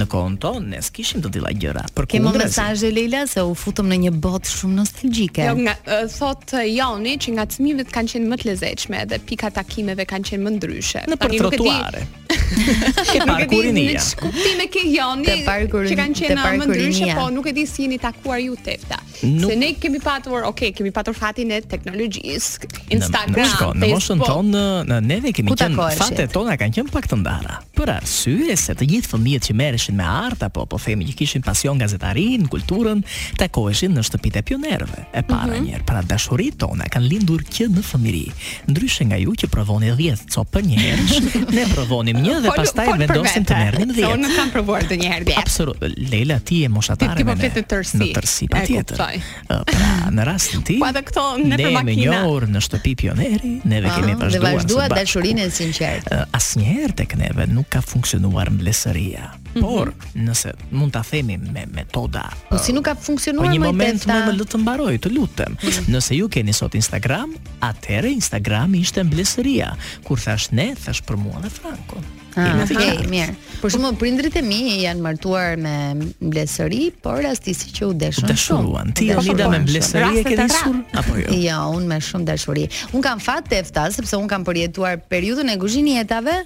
D: Në kohën tonë ne s'kishim të tilla gjëra. Për
B: Kemë Mhm. mesazhe Leila se u futëm në një botë shumë nostalgjike.
C: Jo, nga ë, thot ë, Joni që nga çmimet kanë qenë më të lezetshme dhe pika takimeve kanë qenë më ndryshe.
D: në për
C: Tani nuk e di-
D: trotuare. Ke
C: Nuk e
D: parë
C: di
D: kurin
C: në ç'kuptime ke Joni
B: Te parkurin-
C: që kanë
B: te
C: qenë më
B: parkurinia.
C: ndryshe, po nuk e di si jeni takuar ju tefta.
D: Nuk-
C: Se ne kemi patur, okay, kemi patur fatin e teknologjisë,
D: Në-
C: Instagram,
D: në, shko, në moshën
C: Facebook.
D: tonë në neve kemi
B: Ku
D: qenë
B: takoheshit?
D: fatet tona kanë qenë pak të ndara. Për arsye se të gjithë fëmijët që merreshin me art apo po themi që kishin pasion gazetarin, kulturën, takoheshin në shtëpitë e pionerëve. E para
C: Mhm.
D: njerë, pra dashuritë tona kanë lindur që në fëmiri. Ndryshe nga ju që provoni 10 copë një
C: <laughs>
D: herësh, ne provonim një dhe
C: Fol-
D: pastaj
C: fol për
D: vendosim të
C: vete,
D: merrnim
C: se
D: 10.
C: Unë nuk kam provuar ndonjëherë dje.
D: Absolut. Leila ti je
C: Ti-
D: moshatare
C: ti po
D: me ne.
C: flet në tërsi.
D: Në tërsi
C: E
D: patjetër.
C: kuptoj.
D: Ë, Pra, në rastin
C: <laughs>
D: tim.
C: Po, edhe këto ne për
D: jemi
C: makina. Ah,
D: një orë në shtëpi pioneri, neve kemi
B: Aha, Ah, Dhe
D: vazhduar.
B: vazhdua
D: së bashku.
B: dashurinë e sinqertë.
D: Ë, Asnjëherë tek neve nuk ka funksionuar mbledhëria.
C: Mhm.
D: Por, nëse mund ta themi me metoda
B: Po si nuk ka
D: Po
B: funksionuar më
D: një moment më
B: tefta.
D: më lë të mbaroj, të
B: <laughs>
D: lutem. Nëse ju keni sot Instagram, atëherë Instagrami ishte mbledhëria. Kur thash ne, thash për mua dhe Frankon.
B: Ah,
D: Jemi të
B: okay,
D: qartë.
B: mirë. Për shembull, prindrit e mi janë martuar me mbledhësëri, por rastisi që u deshën
D: Dashuruan.
B: shumë.
D: Ti
B: Dashuruan
D: Jonida me
B: shumë.
D: mbledhëri e
C: Rastet
D: ke
C: e rra.
D: disur apo jo?
B: Jo, unë me shumë dashuri. Unë kam fat tefta sepse unë kam përjetuar periudhën e kuzhinjetave,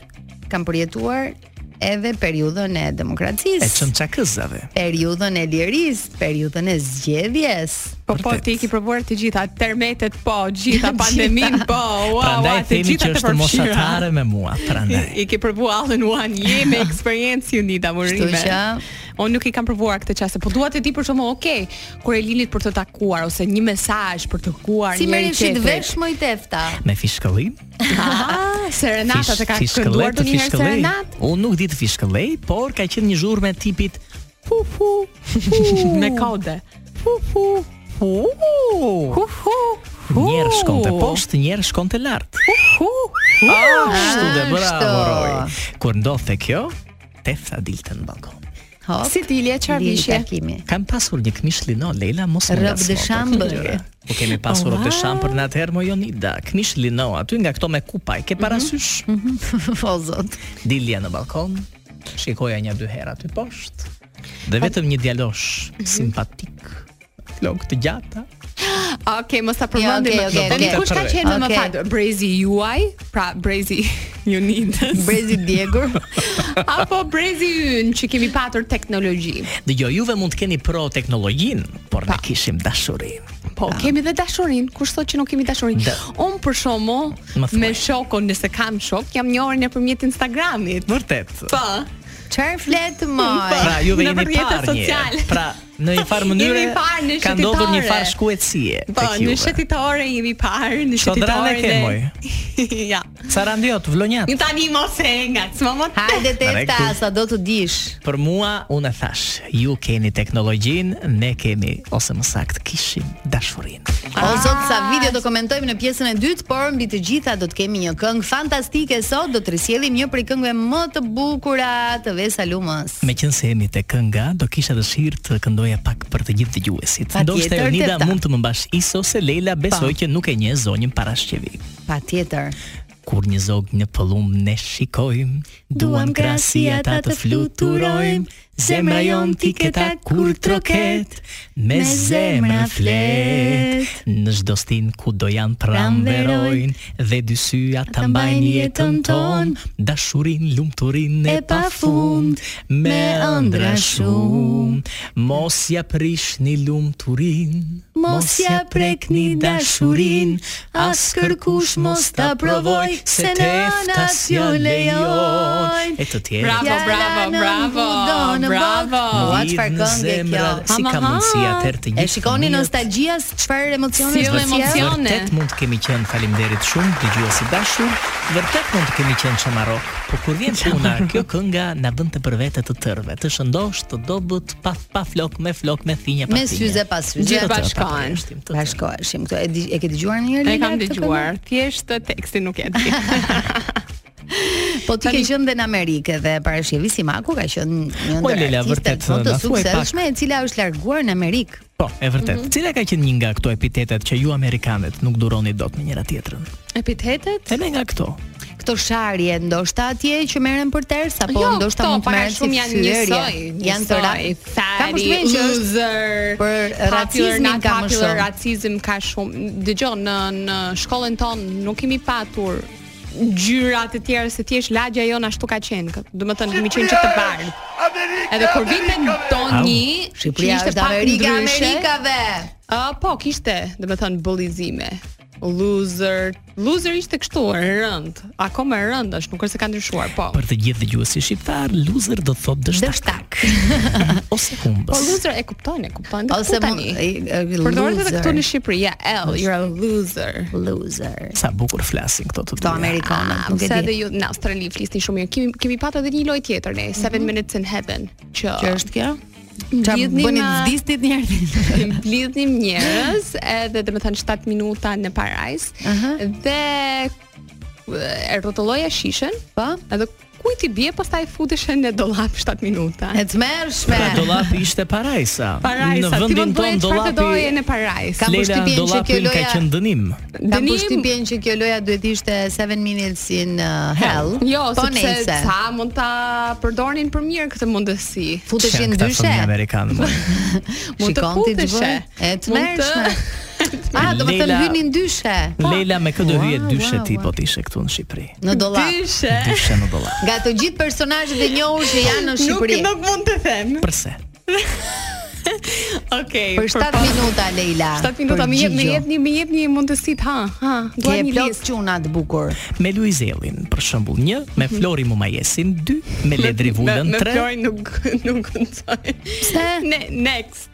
B: kam përjetuar edhe periudhën e
D: E
B: demokracisë,
D: çëm çakëzave.
B: periudhën e lirisë, periudhën e zgjedhjes.
C: Po po
D: Vërtet.
C: ti ke provuar të gjitha, tërmetet po,
D: <laughs>
C: gjitha pandemin po, wow,
D: Prandaj
C: wow, të
D: themi
C: gjitha
D: që
C: të
D: është
C: përfshira.
D: moshatare me mua, prandaj.
C: I ke provuar all in one, je
B: <laughs>
C: me eksperiencë unita
B: Kështu
C: mërime.
B: që
C: Unë nuk i kam provuar këtë çast, po dua të di për shkakun, okay, kur e linit për të takuar ose një mesazh për të kuar
B: si merrin si të
C: vesh?
B: vesh më i tefta.
D: Me fishkëllim,
C: Ah, serenata të ka
D: fishkëllej
C: kënduar
D: të
C: ndonjëherë
D: fishkëllej.
C: serenat?
D: Unë nuk di të fishkëllej, por ka qenë një zhurmë e tipit pu pu
B: <laughs>
D: pu
C: Me kode.
D: pu pu pu.
C: Hu hu. hu.
D: Njerë shkonte poshtë, njerë shkonte lartë.
C: Hu. hu.
D: Ashtu dhe
B: ashtu.
D: bravo Roy. Kur ndodhte kjo, tefta dilte në balkon.
B: Hop.
C: Si ti Ilje çfarë
B: vjen
C: vishje?
B: takimi.
D: Kam pasur një këmish lino, Leila, mos më
B: Rob
D: ngasmo
B: de
D: për
B: Chambre.
D: këtë <laughs> gjëra. Po kemi pasur rob de chambre në atëherë mo Jonida, këmish lino, aty nga këto me kupa,
C: Mhm.
D: i ke parasysh?
B: Mhm. <laughs> o zot.
D: Dilja në balkon, shikoja një dy herë aty poshtë. Dhe vetëm një djalosh
C: Mhm.
D: simpatik, flokë të gjata.
C: Okej, mos ta përmendim.
B: okej,
C: më.
B: okej,
C: Tani
B: okej.
C: kush ka qenë më
B: Okej.
C: fat? Brezi juaj, pra Brezi <laughs> Unitës.
B: Brezi <laughs> Djegur.
C: <laughs> apo Brezi ynë që kemi patur teknologji.
D: Dëgjoj, jo, juve mund të keni pro teknologjinë, por ne kishim dashurinë.
C: Po, kemi dhe dashurinë. Kush thotë që nuk kemi dashurinë?
D: Da-
C: Unë për
D: Më thuaj.
C: shkakun me shokun, nëse kam shok, jam një orë nëpërmjet Instagramit.
D: Vërtet.
C: Po.
B: Çfarë flet moj?
D: Pra, juve jeni
C: Nëpër rrjetet
D: parë
C: sociale.
D: një. Pra, në një
C: <laughs>
D: farë mënyrë
C: Jemi parë në
D: ka ndodhur një
C: shëtitare.
D: farë shkuetësie
C: Po,
D: tek
C: në
D: juve.
C: shetitore jemi parë, në
D: Çfarë drame
C: shetitore.
D: ke,
C: dhe- <laughs> ja.
D: Sa randiot, vlonjat.
C: Një tani mos e ngacmo më të.
B: Hajde tefta
D: Rregull.
B: sa do të dish.
D: Për mua, unë e thash, ju keni teknologjinë, ne kemi, ose më sakt, kishim dashurinë.
B: O zot sa video do komentojmë në pjesën e dytë, por mbi të gjitha do të kemi një këngë fantastike sot, do të risjellim një prej këngëve më të bukura të Vesa Lumës.
D: Me qënë se jemi të kënga, do kisha dëshirë të këndoja pak për të gjithë dëgjuesit.
B: Pa
D: Ndo shte
B: tjetër,
D: Jonida
B: teta.
D: mund të më mbash iso se Leila besoj që nuk e nje zonjën parashqevi.
B: Patjetër.
D: Kur një zog në pëllum ne shikojmë, duam krasia ta të fluturojmë, Zemra jon ti ke ta kur troket Me zemrën flet Në çdo stin ku do janë pranverojnë Dhe dy syja ta mbajnë jetën ton Dashurin, lumturin e pa fund Me ëndra shumë Mos ja prishni lumturin Mos ja prekni dashurin As kërkush mos ta provoj Se në anas jo lejon E të tjerë
C: Bravo, bravo, bravo. Bravo.
B: Ua çfarë këngë kjo.
D: Zemra, Si ka
C: Hamaha.
D: mundësi atëherë të
B: E
D: gjithë
B: shikoni
D: fëmijët-
B: nostalgjia s- çfarë emocione
C: Sjell
B: s'po sjell?
C: emocion. emocione.
D: Vërtet mund të kemi qenë faleminderit shumë dëgjues i dashur. Vërtet mund të kemi qenë çamaro, por kur vjen puna, kjo kënga na bën të për vete të tërëve, të shëndosh, të dobët, pa pa flok, me flok, me thinje pa
B: Me
D: thinje.
B: syze pas syze.
D: Gjithë ato,
C: Bashkohen.
D: pa përjashtim, të tërë.
B: Bashkoheshim këtu. E, di- e ke dëgjuar një herë?
C: E kam
B: Lila, këtë
C: dëgjuar, thjesht teksti nuk e di.
B: këngë? Po ti ke qenë dhe në Amerikë dhe Parashievi Simaku ka qenë një
D: Po,
B: ndër
D: Lila,
B: artistet
D: vërtet,
B: më të
D: na thuaj pak.
B: suksesshme e cila është larguar në Amerikë.
D: Po, e vërtet.
C: Mhm.
D: Cila ka qenë një nga këto epitetet që ju amerikanët nuk duroni dot me njëra tjetrën?
C: <laughs> Epitetet?
D: Edhe nga këto.
B: Këto sharje ndoshta atje që merren për ters apo
C: jo,
B: Po, ndoshta
C: këto,
B: mund të
C: para
B: merren si
C: shumë janë
B: fyrje.
C: njësoj,
B: Janë të
C: njësoj,
B: rafë. Ka
C: Fari,
B: përshtypjen që është
C: loser.
B: për
C: popular,
B: racizmin
C: not
B: ka më
C: popular,
B: shumë.
C: Racizm ka shumë. Dëgjoj, në në shkollën tonë nuk kemi patur gjyra të tjera se thjesht lagja jon ashtu ka qenë. kë- Do të thënë kemi qenë që të bardh. Edhe kur vitën toni,
B: Shqipëria është Amerika, Amerikave.
C: A, po, kishte, dhe me thënë, bullizime. Loser, loser ishte kështu, rënd. Akoma rënd është, nuk është se ka ndryshuar, po.
D: Për të gjithë dëgjuesit shqiptar, loser do të thotë dështak
B: Dështak.
D: ose humbës.
C: Po loser e kuptojnë, e kuptojnë. dhe
B: Ose
C: këtu
B: mund
C: tani.
B: përdoret
C: Përdoret edhe këtu në Shqipëri, ja, L, you're a loser.
B: loser.
D: Sa bukur flasin këto të
B: Këto
D: dyja.
B: amerikanët, nuk e
C: Sa
B: di.
C: edhe ju në Australi flisni shumë mirë. Kemi kemi patur edhe një lojë tjetër ne, 7 minutes in heaven, që
B: Që është kjo? Çfarë
C: Mbledhni
B: bëni
C: ma-
B: vdistit një herë?
C: <laughs> mblidhnim njerëz, edhe do të thënë 7 minuta në parajs dhe e rrotulloja shishën,
B: Po?
C: Edhe kujt i bie pastaj futeshe në dollap 7 minuta.
B: E të mërshme.
D: Pra dollapi ishte parajsa.
C: Parajsa,
D: në
C: ti
D: vendin
C: mund
D: ton
C: bëhet çfarë të doje
D: dollapi
C: në parajs.
B: Ka-
D: Leila
B: përshtypjen që
D: dollapi
B: kjo
D: ka
B: loja-
D: qenë dënim.
B: Ka
C: Dënim-
B: përshtypjen që kjo loja duhet ishte 7 minutes in uh, hell.
C: Jo,
B: po
C: sepse
B: nejse.
C: sa mund ta përdorin për mirë këtë mundësi.
B: Futeshin
D: Qenë këta
B: ndryshe.
D: fëmijë amerikanë.
C: <laughs>
D: mo.
B: Mund të
C: Shikon ti
B: futeshe.
C: gjë.
B: E të
C: Mund të-
B: mërshme.
C: <laughs>
B: A, do të thënë
D: Leila-
B: hynin ndyshe.
D: Leila me këtë hyje
B: Ua,
D: dyshe
B: ua,
D: ti
B: ua.
D: po të ishe këtu në Shqipëri.
B: Në dollap.
C: Dyshe.
D: Dyshe në dollap.
B: Nga të gjithë personazhet e njohur që janë në
C: Nuk
B: Shqipëri.
C: nuk mund të them.
D: Përse?
C: Okej.
B: Për 7 minuta Leila.
C: 7 minuta
B: për
C: më jep më
B: gjigjo.
C: jepni më jepni mundësit ha ha. Dua
B: Ke
C: një
B: plot
C: listë.
B: çuna të bukur.
D: Me Luizelin, për shembull 1, me Flori Mumajesin 2, me Ledri Vulën
C: Mhm. Me- me
D: 3.
C: Florin nuk <laughs> nuk guxoj.
B: Pse?
C: Ne next.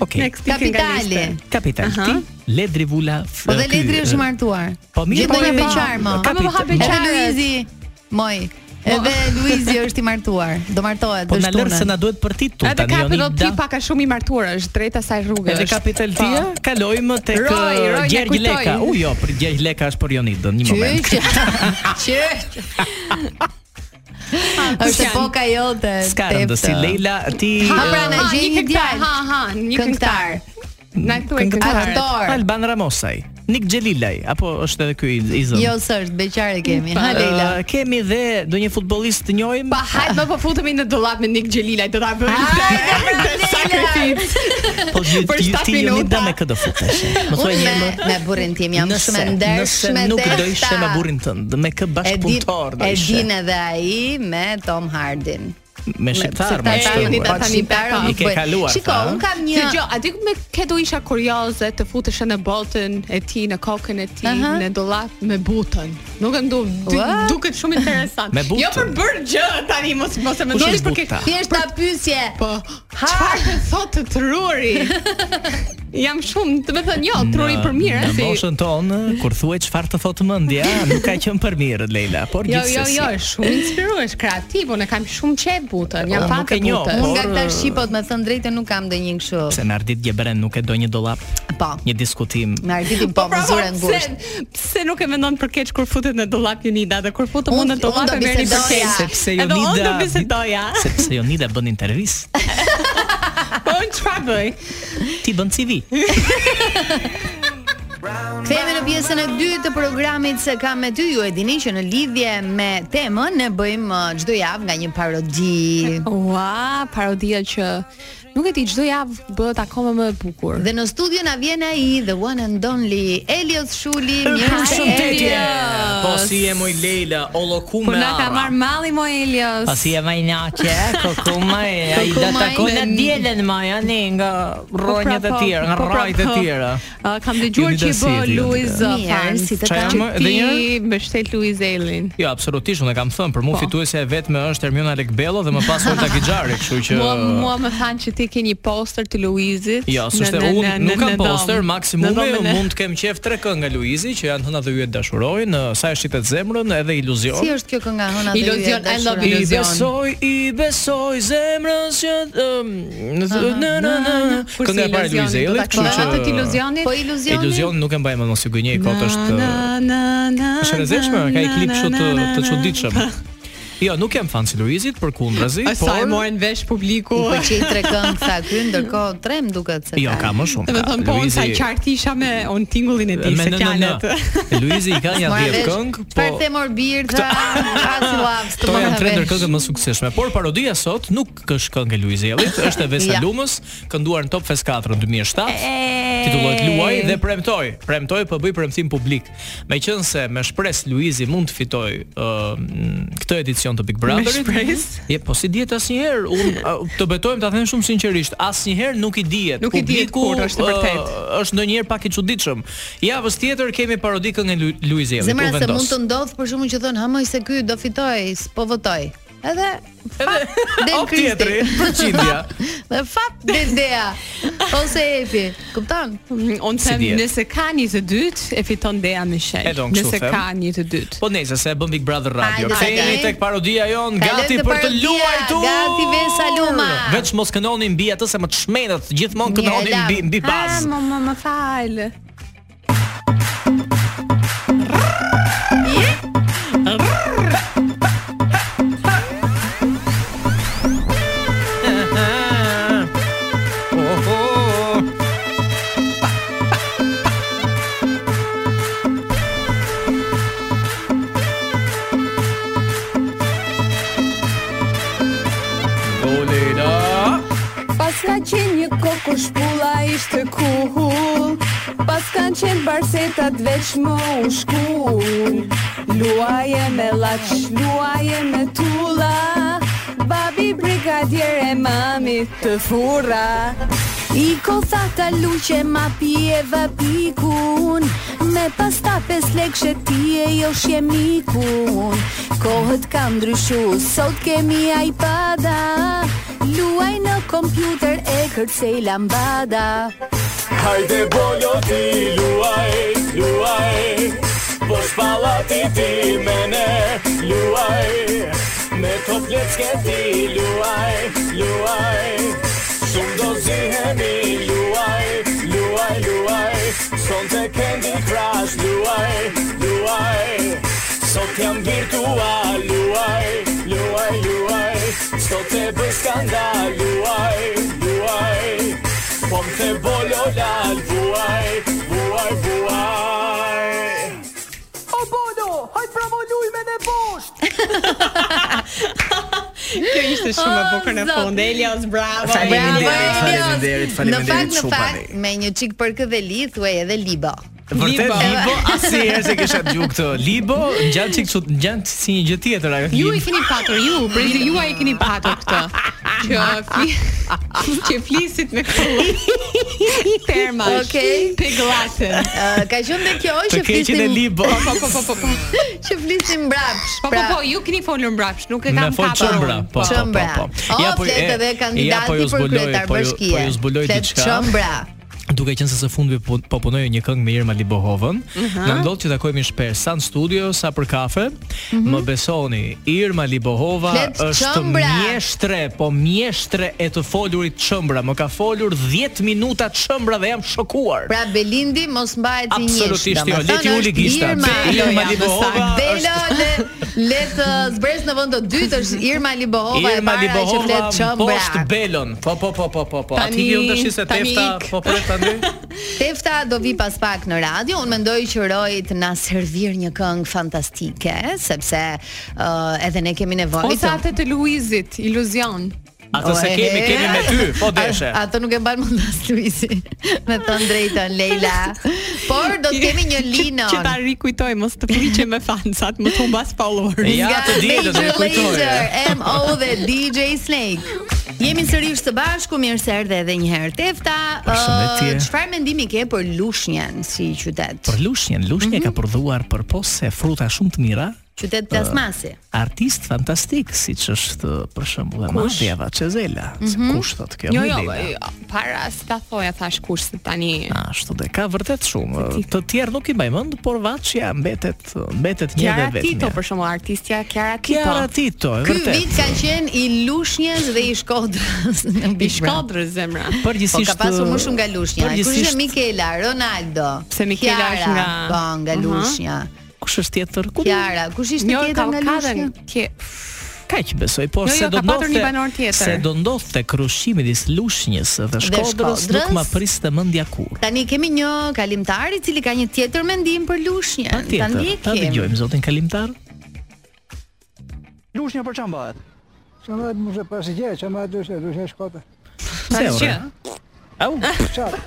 D: Okej.
C: Next i ke nga
B: Kapitali.
C: lista.
D: Kapital ti, Ledri Vula. f-
B: Po dhe
D: ky,
B: Ledri është
D: e,
B: martuar.
D: Po mirë,
B: Gjithmonë
D: po
B: e
D: e-
B: beqar më.
D: Ka-
C: Kamë më hape
D: Edhe
B: Edhe
C: qarët.
B: Luizi, moj. Edhe Luizi është i martuar. Do martohet
D: Po na
B: është
D: lër se
B: tunën.
D: na duhet për ti tu
C: Edhe
D: tani
C: ka
D: joni.
C: do ti
D: da-
C: pak a shumë i martuar është drejt asaj rrugës.
D: Edhe kapital tia, kalojmë tek
C: Roj,
D: eh,
C: Roj, na
D: Gjergj
C: kujtoj.
D: Leka. U jo, për Gjergj Leka është për Jonidën, një moment. <laughs>
B: Qyç. Qyç. Është
C: janë?
B: poka jote.
D: Ska rëndë si
B: teptë.
D: Leila, ti
B: Ha,
D: eh,
B: pra, na gjej një djalë.
C: Ha ha, një këngëtar. Na thuaj këngëtar.
B: Aktor. Or.
D: Alban Ramosaj, Nik Xhelilaj apo është edhe ky i- i zënë?
B: Jo s'është, beqare kemi. Ha
D: Ë,
B: Leila.
D: kemi dhe ndonjë futbollist të njohim.
C: Pa hajt më po futemi në dollap me Nik Xhelilaj, do ta bëj. Sakrificë.
D: Po ju
C: për
D: ti
C: shtat
D: ti jeni
C: minuta.
D: da me këtë futesh. Më thuaj
B: Unë
D: një
B: me,
D: më.
B: me burrin tim jam
D: Nëse,
B: shumë e
D: nëse
B: ndershme.
D: nuk do
B: tepta.
D: ishte me burrin tënd, me kë
B: E din,
D: bashkëpunëtor do
B: e
D: ishe.
B: din edhe ai me Tom Hardin.
D: me shqiptar,
B: se ta
D: me
B: tani
C: shqiptar.
B: ta
D: shqiptar.
B: tani
C: Po,
B: nuk
D: i ke
B: bëj.
D: kaluar, eh?
B: Shiko,
D: tha,
B: un kam një
C: Një gjë, aty me ke do isha kurioze të futesh në botën e ti, në kokën e ti,
B: Aha.
C: në dollap me butën. Nuk e ndu, du-
B: What?
C: duket shumë interesant.
D: Me butën?
C: Jo për bërë gjë tani, mos mos e mendoni
D: është
C: për kë.
D: buta?
B: thjesht ta pyetje.
C: Po, çfarë të thotë të truri? Jam shumë, të me thënë, jo, truri për mirë,
D: Në
C: si...
D: moshën tonë, kur thuaj çfarë të thotë
B: <laughs>
D: mendja, nuk ka qenë për mirë Leila, por
C: Jo, jo,
D: gjithsesi.
C: jo, është shumë inspiruesh, kreativ, unë e kam shumë qep butën, jam
D: Po,
C: fan
D: nuk
C: të
D: e njoh,
B: Unë
C: butës.
B: nga
D: Por,
B: këta
D: eh,
B: shqipot me thënë drejtën nuk kam ndonjë kështu.
D: Se në Ardit Gjebren nuk e do një dollap,
B: Po.
D: një diskutim.
B: Me artitin po, më zure ngushtë.
C: Pra, Pse, pse nuk e mendon për keq kur futet në dollap Jonida dhe kur futet
B: Unë-
C: mund në dollap
B: unë do
C: e merrni për
B: bisedoja.
C: keq.
D: Sepse jo
C: Edhe unë do
D: Jonida- <laughs>
C: bisedoja.
D: Sepse Jonida bën intervistë,
C: Po unë çfarë bëj?
D: ti bën CV.
B: Kthehemi në pjesën e dytë të programit se kam me ty. Ju e dini që në lidhje me temën ne bëjmë uh, çdo javë nga një parodi.
C: Ua, parodia që nuk e di çdo javë bëhet akoma më e bukur.
B: Dhe në studio na vjen ai the one and only Elios Shuli.
D: Përshëndetje.
C: Elias.
D: Po si e moj Leila, olokume.
C: Po na ka marr malli mo Elios.
D: Pa Po si e majnaqe, kokuma e, ai do
C: Kokuma e,
D: takon në
C: ben-
D: dielën ma janë nga
C: Po pra,
D: rronjët e tjera, nga rrojt e tjera.
C: Uh, kam dëgjuar
D: Ju
C: që i
D: dasi
C: bë
D: e di,
C: Luiz
B: Mirë,
C: fan
B: si të
D: Qa
B: kam.
D: jam,
C: Që
D: Dhe njërë?
C: ti mbështet Luiz Elin.
D: Jo, absolutisht, unë e kam thënë,
C: Po.
D: për mua fituesja e vetme është Hermiona Lekbello dhe më pas Olta Gixhari, kështu që
C: Mua, mua më thanë që ti ke një poster të Luizit.
D: Jo,
C: në-
D: s'është
C: në-
D: unë
C: në-
D: nuk
C: në-
D: kam
C: në dom. Në
D: poster, maksimumi
C: domin e-
D: mund të kem qef tre këngë nga Luizi që janë hëna dhe ju e dashurojnë, sa e shitet zemrën edhe iluzion.
B: Si është kjo kënga hëna dhe
C: Iluzion,
B: ju e
C: I love
B: dashuroj?
D: I
C: iluzion.
D: besoj, i besoj zemrës që ëm, në në në në
C: Kurse
D: kënga e parë e
C: iluzionin,
D: Luizi
C: do ta
D: Ellit, kështu
C: ktheva
D: që
C: atë të iluzionit.
B: Po iluzioni.
D: Iluzion nuk e mbaj mend mos i gënjej kot është është e rrezikshme, ka i klip kështu të të çuditshëm. Jo, nuk jam fan si Luizit, përkundrazi,
C: Ai sa e
D: por
C: morën vesh
D: <laughs>
C: publiku.
B: I pëlqej tre këngë sa kry, ndërkohë tre më duket se.
D: jo ka më shumë.
C: Dhe me
D: ka.
C: thënë po, sa
D: Luizi-
C: qartë isha me on tingullin e ti,
D: Me
C: se
D: në në
C: fjallet.
D: në. Luizi i ka
B: <laughs>
D: një 10 këngë, po
B: Çfarë the mor bir <laughs> tha, as llaps të
D: Këto janë tre ndër
B: vesh.
D: këngët më suksesshme, por parodia sot nuk është këngë e Luizi
C: <laughs>
D: Ellit, është e Vesa
B: Ja.
D: Lumës, kënduar në Top Fest 4 në 2007. Titullohet Luaj dhe premtoj, premtoj po bëj premtim publik. Meqense me shpresë Luizi mund të fitoj ë këtë edicion të Big Brotherit.
C: shpresë?
D: Je, po si dihet asnjëherë,
C: <laughs>
D: un të betojmë ta them shumë sinqerisht, asnjëherë nuk i dihet.
C: Nuk i dihet
D: Publiku,
C: kur, është e
D: ë,
C: vërtetë.
D: Është ndonjëherë pak i çuditshëm. Javës tjetër kemi parodi këngën e Lu- Luizi Ellit.
B: Zemra
D: u
B: se
D: vendos.
B: mund të ndodh për shkakun që thon, ha moj se ky do fitoj, s'po votoj. Edhe
C: <laughs>
B: fat del <laughs>
D: Op tjetri,
B: Kristi.
D: përqindja.
B: Dhe fat del
C: <laughs>
B: Dea. Ose Epi. Kupton?
C: <laughs> Unë
D: Si
C: them
D: dihet?
C: nëse ka një të dytë, e fiton Dea Michel.
D: E do, kështu
C: Nëse
D: them.
C: ka një të dytë.
D: Po nejse se e bën Big Brother Radio.
B: Hajde,
D: Kthehemi
B: hajde.
D: tek parodia jon,
B: Kalojmë
D: gati
B: te
D: për të
B: parodia,
D: luajtur.
B: gati Vesa Luma.
D: Veç mos kënoni mbi atë se më të shmenet, gjithmonë
B: Mirë,
D: kënoni
B: lam.
D: mbi mbi
C: Ah,
D: bazë.
C: më më më falë.
D: Oh, oh, oh. Dolina.
F: Pas ka qenë një kokur shpulla ishte kuhull Pas kanë qenë barsetat veç më u shkull Luaje me lach, luaje me tulla Babi brigadier e mami të furra I ko tha ta luqe ma pje vapikun Me pasta pes lekshe ti e jo shjemikun Kohët ka ndryshu, sot kemi iPada Luaj në kompjuter e kërcej lambada
G: Hajde bolo ti luaj, luaj Po shpallati ti me ne, luaj Me to plecke ti luaj, luaj Shumë do zihemi luaj, luaj, luaj Son të Candy Crush luaj, luaj Sot jam virtual luaj, luaj, luaj Sot e bëj skandal luaj, luaj Po më the bolo lal Vuaj, vuaj, vuaj
C: Kjo ishte shumë e bukur në fund. Elios, bravo.
B: Oh, Bravo,
E: faleminderit,
B: Elios.
E: faleminderit
B: Në fakt, në
E: shumë,
B: fakt,
E: Ani.
B: me një çik përkë dhe li thuaj edhe Libo.
D: Vërtet
C: Libo.
D: Libo, asnjëherë se kisha dëgjuar këtë. Libo ngjan çik çut, ngjan si një gjë tjetër ajo.
C: Ju
D: Libo.
C: i keni patur, ju, brezi juaj e keni patur këtë. Që fli, <laughs> që flisit me <laughs> këtu. Termash.
B: Okej.
C: Piglatin.
B: Ë, Ka qenë dhe kjo
D: Të
B: që
D: keqin e
B: flisim
D: Libo.
C: Po po po po po.
B: që flisim mbrapsht.
C: Po po po, ju keni folur mbrapsht, nuk e
D: Me
C: kam
D: fol
C: kapur.
D: çëmbra,
C: unë,
D: po po po.
B: Çëmbra.
D: po.
B: O, flet edhe kandidati
D: ju
B: për
D: zbuloj,
B: kryetar
D: po ju-
B: bashkie.
D: Po ju zbuloj
B: Flet
D: diçka.
B: Çëmbra.
D: Duke qenë se së fundmi po, po punoj një këngë me Irma Libohovën, na ndodh që takohemi shpesh sa në studio, sa për kafe.
B: Mhm.
D: Më besoni, Irma Libohova
B: Flet
D: është
B: çëmbra.
D: mjeshtre, po mjeshtre e të folurit çëmbra. Më ka folur 10 minuta çëmbra dhe jam shokuar.
B: Pra Belindi mos mbahet si një.
D: Absolutisht jo, leti uli gishtat. Irma
B: Irma
D: Libohova
B: Belo le le të zbres në vend të dytë është Irma Libohova e
D: Irma
B: para që
D: Libohova
B: flet çëmbra.
D: post Belon. Po po po po po po.
C: Tani-
D: Aty vjen tash se
C: tani
D: tefta
C: ik.
D: po pret ta
G: bli?
B: Tefta do vi pas pak në radio. Unë mendoj që Rojt na servir një këngë fantastike, sepse uh, edhe ne kemi nevojë
C: Ose atë të Luizit, iluzion.
G: Ato se kemi, kemi me ty, po deshe.
B: Oh, eh, <laughs> A- Ato nuk e mban mend as Luisi. <laughs> Me thënë drejtën Leila. Por do të kemi
G: <laughs>
B: një
C: Që ta
B: linon.
C: rikujtoj mos të friqe me fansat, më të humbas followers.
G: Ja,
B: Nga
G: të dielën,
B: Major
G: e kujtoj.
B: Lazer, MO dhe DJ Snake. Jemi sërish të bashku, mirë se erdhe edhe një herë Tefta.
D: Përshëndetje.
B: ë, Çfarë mendimi ke për Lushnjën si qytet?
D: Për Lushnjën, Lushnja ka prodhuar përpose fruta shumë të mira,
B: Qytet plasmasi.
D: uh, artist fantastik, siç është për shembull e Madhja Vaçezela, se kush thot kjo?
C: Jo,
D: më
C: jo,
D: Lena.
C: jo, para se ta thoja thash kush se tani.
D: Ashtu dhe ka vërtet shumë. Të tjerë nuk i mbaj mend, por Vaçja mbetet mbetet një dhe
C: Kiara Tito
D: vetëm.
C: për shembull, artistja Kiara
D: Kiara
C: Tito.
D: Tito, e
B: Ky
D: vërtet.
B: vit ka qenë i Lushnjës dhe i Shkodrës në
C: I
B: Big Brother.
C: shkodrës zemra.
B: Po
D: Përgjithsisht
B: ka pasur më shumë nga Lushnja. Kush
D: uh, Përgjithsisht
B: është Mikela, Ronaldo?
C: Se Mikela
B: Kiara,
C: është nga-
B: po nga
C: Aha.
B: Lushnja.
D: kush është tjetër? Ku
B: Kiara, kush ishte
C: Një
B: tjetër nga
C: kalkadën
B: Lushnja?
C: tje.
D: Kaq besoj, por
C: Jo, jo,
D: se do
C: ka patur
D: ndodhte
C: një banor tjetër.
D: se do ndodhte krishimi midis Lushnjës dhe Shkodrës, nuk
B: Shkodrës.
D: ma priste mendja kur.
B: Tani kemi një kalimtar i cili ka një tjetër mendim për Lushnjën. Ta
D: Tjetër, ta
B: ndjekim.
D: dëgjojmë zotin kalimtar.
E: Lushnja për çfarë mbahet?
H: Që më më zhe pasi gje, që më dyshe, dyshe shkote.
D: Se
C: Tash që.
D: ora. Au,
H: Qatë,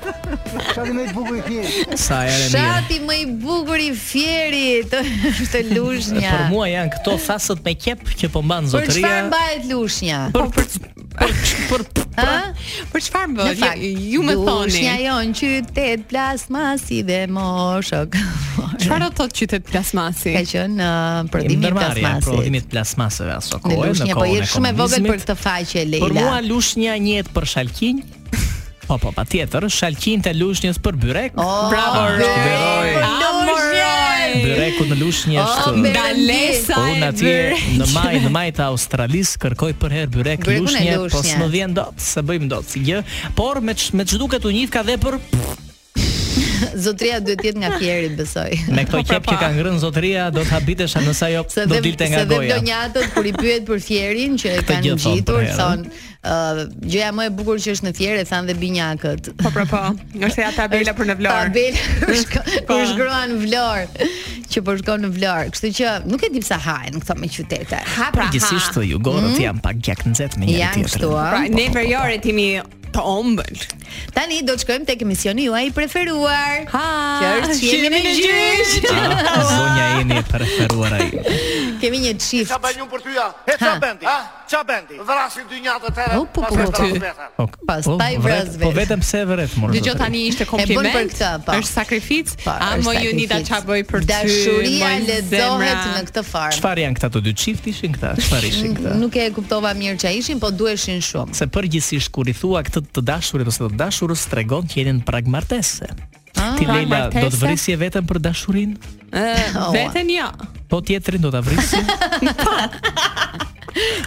H: qatë me të bukur i tjerë.
D: sa herë mirë.
B: Shati më i bukur i fjerit është të <laughs> Lushnja.
D: Për mua janë këto thasët me qep që po mban
B: Për
D: zotëria.
B: çfarë mbahet Lushnja?
D: Për për për për
B: Ë?
C: Për çfarë
B: Në
C: bëhet?
B: fakt,
C: Ju, ju më thoni.
B: Lushnja jon qytet plasmasi dhe <laughs> moshok.
C: Çfarë do thotë qytet plasmasi?
B: Ka qenë uh, prodhimi i plasmasit.
D: prodhimit plasmaseve aso
B: Në
D: kohë, në
B: Lushnjë, po
D: kohën e
B: jetë shumë e vogël për
D: komunizmit.
B: këtë faqe
D: Për
B: Leila.
D: mua Lushnja njihet për shalqinj. Po po, patjetër, shalqinjtë e Lushnjës për byrek.
B: Oh,
C: Bravo, Roy.
B: Roy.
C: Amoroj.
D: Byreku në Lushnjë është
B: Oh, Ber-
C: Dalesa
D: Po
C: e
D: unë atje
C: bërë.
D: në maj në maj të Australisë kërkoj për herë byrek
B: Byrekun e
D: lushnje, po
B: Lushnjës.
D: s'më vjen dot, se bëjmë dot si gjë, por me ç, me ç'duket u njih ka dhe për
B: Zotria duhet të jetë nga Fieri, besoj.
D: me
B: <laughs>
D: këto
C: Po, pra,
D: qep që
C: pa.
D: ka ngrënë zotëria do të habitesha nëse ajo
B: Se
D: do
B: dhe
D: dilte nga
B: se dhe
D: goja.
B: blonjatët kur i pyet për Fierin që e kanë
D: gjë thonë
B: ngjitur,
D: për herën.
B: thonë ë gjëja më e bukur që është në Fier e thanë dhe binjakët.
C: Po po po. Është ja tabela për në Vlorë.
D: <laughs>
B: Tabel <laughs> kur shko-
C: Po.
B: kur shkruan në Vlorë, që po shkon në Vlorë. Kështu që nuk e di pse hahen këto me qytete.
C: Ha pra.
D: Përgjithsisht jugorët janë pak gjak nxehtë me njëri
B: Janë Mm. kështu,
D: tjetrin.
B: a?
C: Pra, ne verjore timi të ombël.
B: Tani do të shkojmë tek emisioni juaj i preferuar.
C: Ha,
B: Që është qjemi në gjyq. <laughs>
D: Ah, Zonja jeni e preferuara ju.
B: Kemi një çift.
I: Qa bëjnë unë për tyja? He, qa
B: Ha.
I: bendi? Qa bendi? Vrasin dy njatë të tëre,
B: O, po, po, po, ty.
D: Ok,
B: Pastaj
D: po,
B: vras
D: vret-
B: vesh.
D: Po vetëm se e vret mor.
C: Dëgjoj
D: zotëri.
C: tani ishte
B: E bën për
C: kompliment.
B: këtë, po.
C: Është sakrificë.
B: Po,
C: A
B: është
C: mo ju nida
B: sakrificë.
C: ç'a bëj për ty?
B: Dashuria
C: moj
B: lexohet
C: zemra.
B: në këtë farë.
D: Çfarë janë këta të dy çifti ishin këta? Çfarë ishin këta?
B: Mm, Nuk e kuptova mirë që ishin, po duheshin shumë.
D: se përgjithsisht kur i thua këtë të dashurit ose të dashurës tregon që jeni në pragmartese.
B: Ah.
D: Ti Leila do të
C: pragmartese?
D: vrisje veten për dashurinë,
B: <laughs>
C: Ë,
B: Ua.
C: Veten jo.
D: po tjetrin do ta vrisje.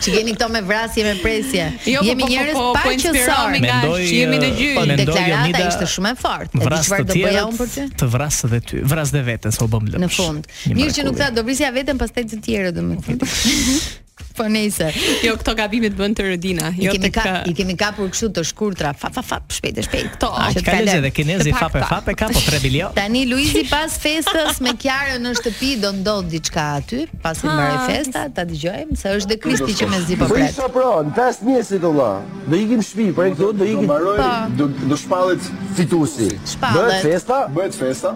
B: Që jeni këto me vrasje me presje.
C: Jo, po,
B: Jemi
C: po, po,
B: njerëz
C: po,
B: pa
C: po
B: qësor.
C: inspirohemi. Nga shihemi në gjyq.
D: po, mendoj,
B: Deklarata
D: Jonida,
B: ishte shumë e fortë. E di
D: Vras të
B: çfarë do bëja unë për ty?
D: tjerët, të vras edhe ty. Vras dhe veten, se u bëm lëmsh.
B: Në fund.
D: Një
B: Mirë që nuk
D: mrekulli.
B: tha do vrisja veten pastaj të tjerë domethënë.
D: <laughs>
B: Po nejse,
C: Jo këto gabime të bën të Rodina,
B: i
C: jo
B: kemi
C: të
B: ka,
C: kë.
B: i kemi kapur kështu të shkurtra, fa fa fa, shpejt e shpejt.
C: Këto,
B: që
D: Aq
B: të
D: ka
B: kalojmë.
D: lezë dhe kinezi
C: Të pak,
D: fape
C: pak.
D: fape ka po 3
B: <laughs>
D: bilion.
B: Tani Luizi pas festës me Kiarën në shtëpi do ndodh diçka aty, pasi mbaroi festa, ta dëgjojmë se është dhe Kristi që mezi po
I: Po
B: pret.
I: isha pra, në pesë mjesit o vlla. Do ikim shpi, për e këto do ikim.
B: Po.
I: Do do shpallet fitusi.
B: Shpallet.
I: Bëhet festa, bëhet festa.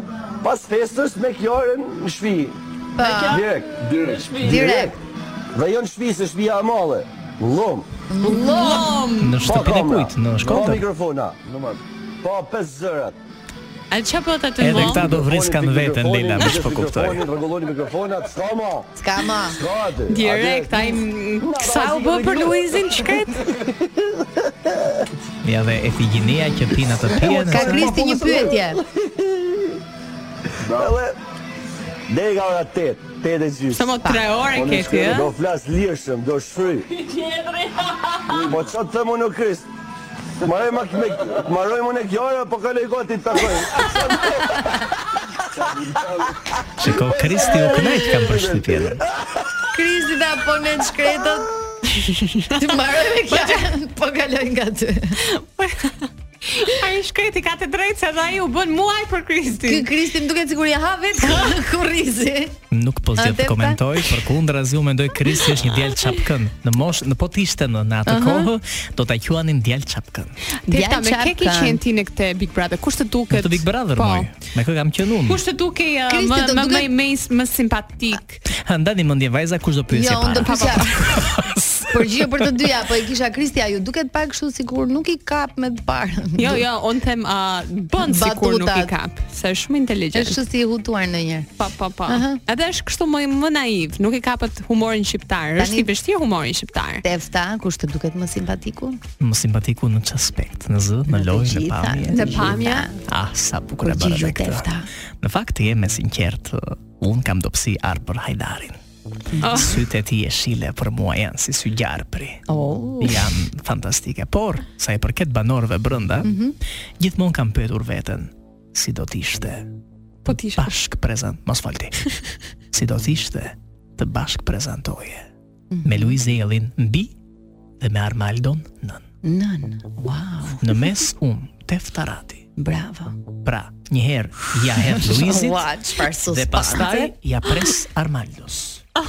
I: Pas festës me Kjarën në shtëpi.
B: Po,
I: Direkt, direkt.
B: Direkt.
I: Dhe jo në shtëpi se shtëpia e madhe. Lum.
D: Në shtëpinë e kujt, në
I: Po
D: Shkodër.
I: mikrofona. Po pesë zërat.
C: A ç'a po ta të
D: Edhe
C: mos?
D: këta do vriskan
I: Mikrofonin,
D: veten Leila, më
I: mikrofonin,
D: shpo po kuptoj.
I: mikrofonin, Po, Rregulloni mikrofonat, s'ka ma.
B: s'ka më.
I: S'ka atë.
C: Direkt, ai sa u bë për Luizin shkret?
B: <laughs>
D: Ja dhe Efigenia që pina të pijen.
B: Ka Kristi po një pyetje.
I: Edhe deri nga ora 8, 8 e gjysmë.
C: Sa më 3 orë
I: Unë
C: ke ti,
I: shkoj, Do
C: ë?
I: flas lirshëm, do shfry. po çfarë të më në krist? Maroj ma me maroj më në gjara po kaloj gati të takoj.
D: Shiko Kristi u kënaq kam për shtëpinë.
B: Kristi ta po ne të shkretët. Ti mbaroj me Kiarën, po kaloj nga ty.
C: <laughs> Ai shkreti ka të drejtë se edhe ai u bën muaj për
B: Ky
C: Kristin.
B: Kristi më duket sikur ja ha vetë kurrizi.
D: Nuk po zgjedh
B: Atë
D: të
B: pa-
D: komentoj,
B: pra?
D: përkundrazi unë mendoj Kristi është një djalë çapkën. Në mosh, në po të ishte në, në atë kohë, do ta quanin djalë çapkën.
C: Tefta me
B: Djalë
C: ke ke
B: qartë.
C: qenë ti në këtë Big Brother. Kush të
D: Në
C: duket?
D: të Big Brother
C: Po.
D: moj. Me kë kam qenë unë?
C: Kush të dukej uh,
B: Kristi,
C: më
B: të
C: më më
B: duket-
C: më më simpatik?
D: Ha ndani mendje vajza kush do pyesë
B: Jo, unë do
D: para.
B: pyesja. <laughs> Përgjigje për të dyja, po e kisha Kristi, ju duket pak kështu sikur nuk i kap me të parën.
C: Jo, jo, un them a bën sikur nuk i
B: Batutat.
C: kap, se është shumë inteligjent.
B: Është si i hutuar ndonjëherë.
C: Pa, pa, pa.
B: Aha.
C: po. Edhe është kështu më më naiv, nuk i kapet humorin shqiptar.
B: Tani-
C: Është i vështirë humori shqiptar.
B: Tefta, kush të duket më simpatiku?
D: Më simpatiku në çfarë aspekt? Në zë, në lojë, në
B: gjitha,
D: pamje.
B: në
C: Të pamja.
D: Ah, sa bukur e bëra
B: Përgjigju
D: dhe këtë.
B: tefta.
D: Në fakt je me sinqert, un kam dobësi ar për Hajdarin.
C: Oh.
D: Sytë e ti e shile për mua janë si sy gjarpri.
B: Oh.
D: Janë fantastike, por sa i përket banorëve brenda, gjithmonë kam pyetur veten si do të ishte
C: Po ti isha.
D: bashk prezant, mos
B: <laughs>
D: falti. si do të ishte të bashk prezantoje
B: Mhm.
D: me Luiz Elin mbi dhe me Armaldon nën.
B: Nën. Wow,
D: Në mes um Teftarati.
B: bravo.
D: Pra, një herë
B: <laughs>
D: ja hedh Luizit
B: Ua, çfarë sus. Ah.
D: dhe pastaj ja pres Armaldos.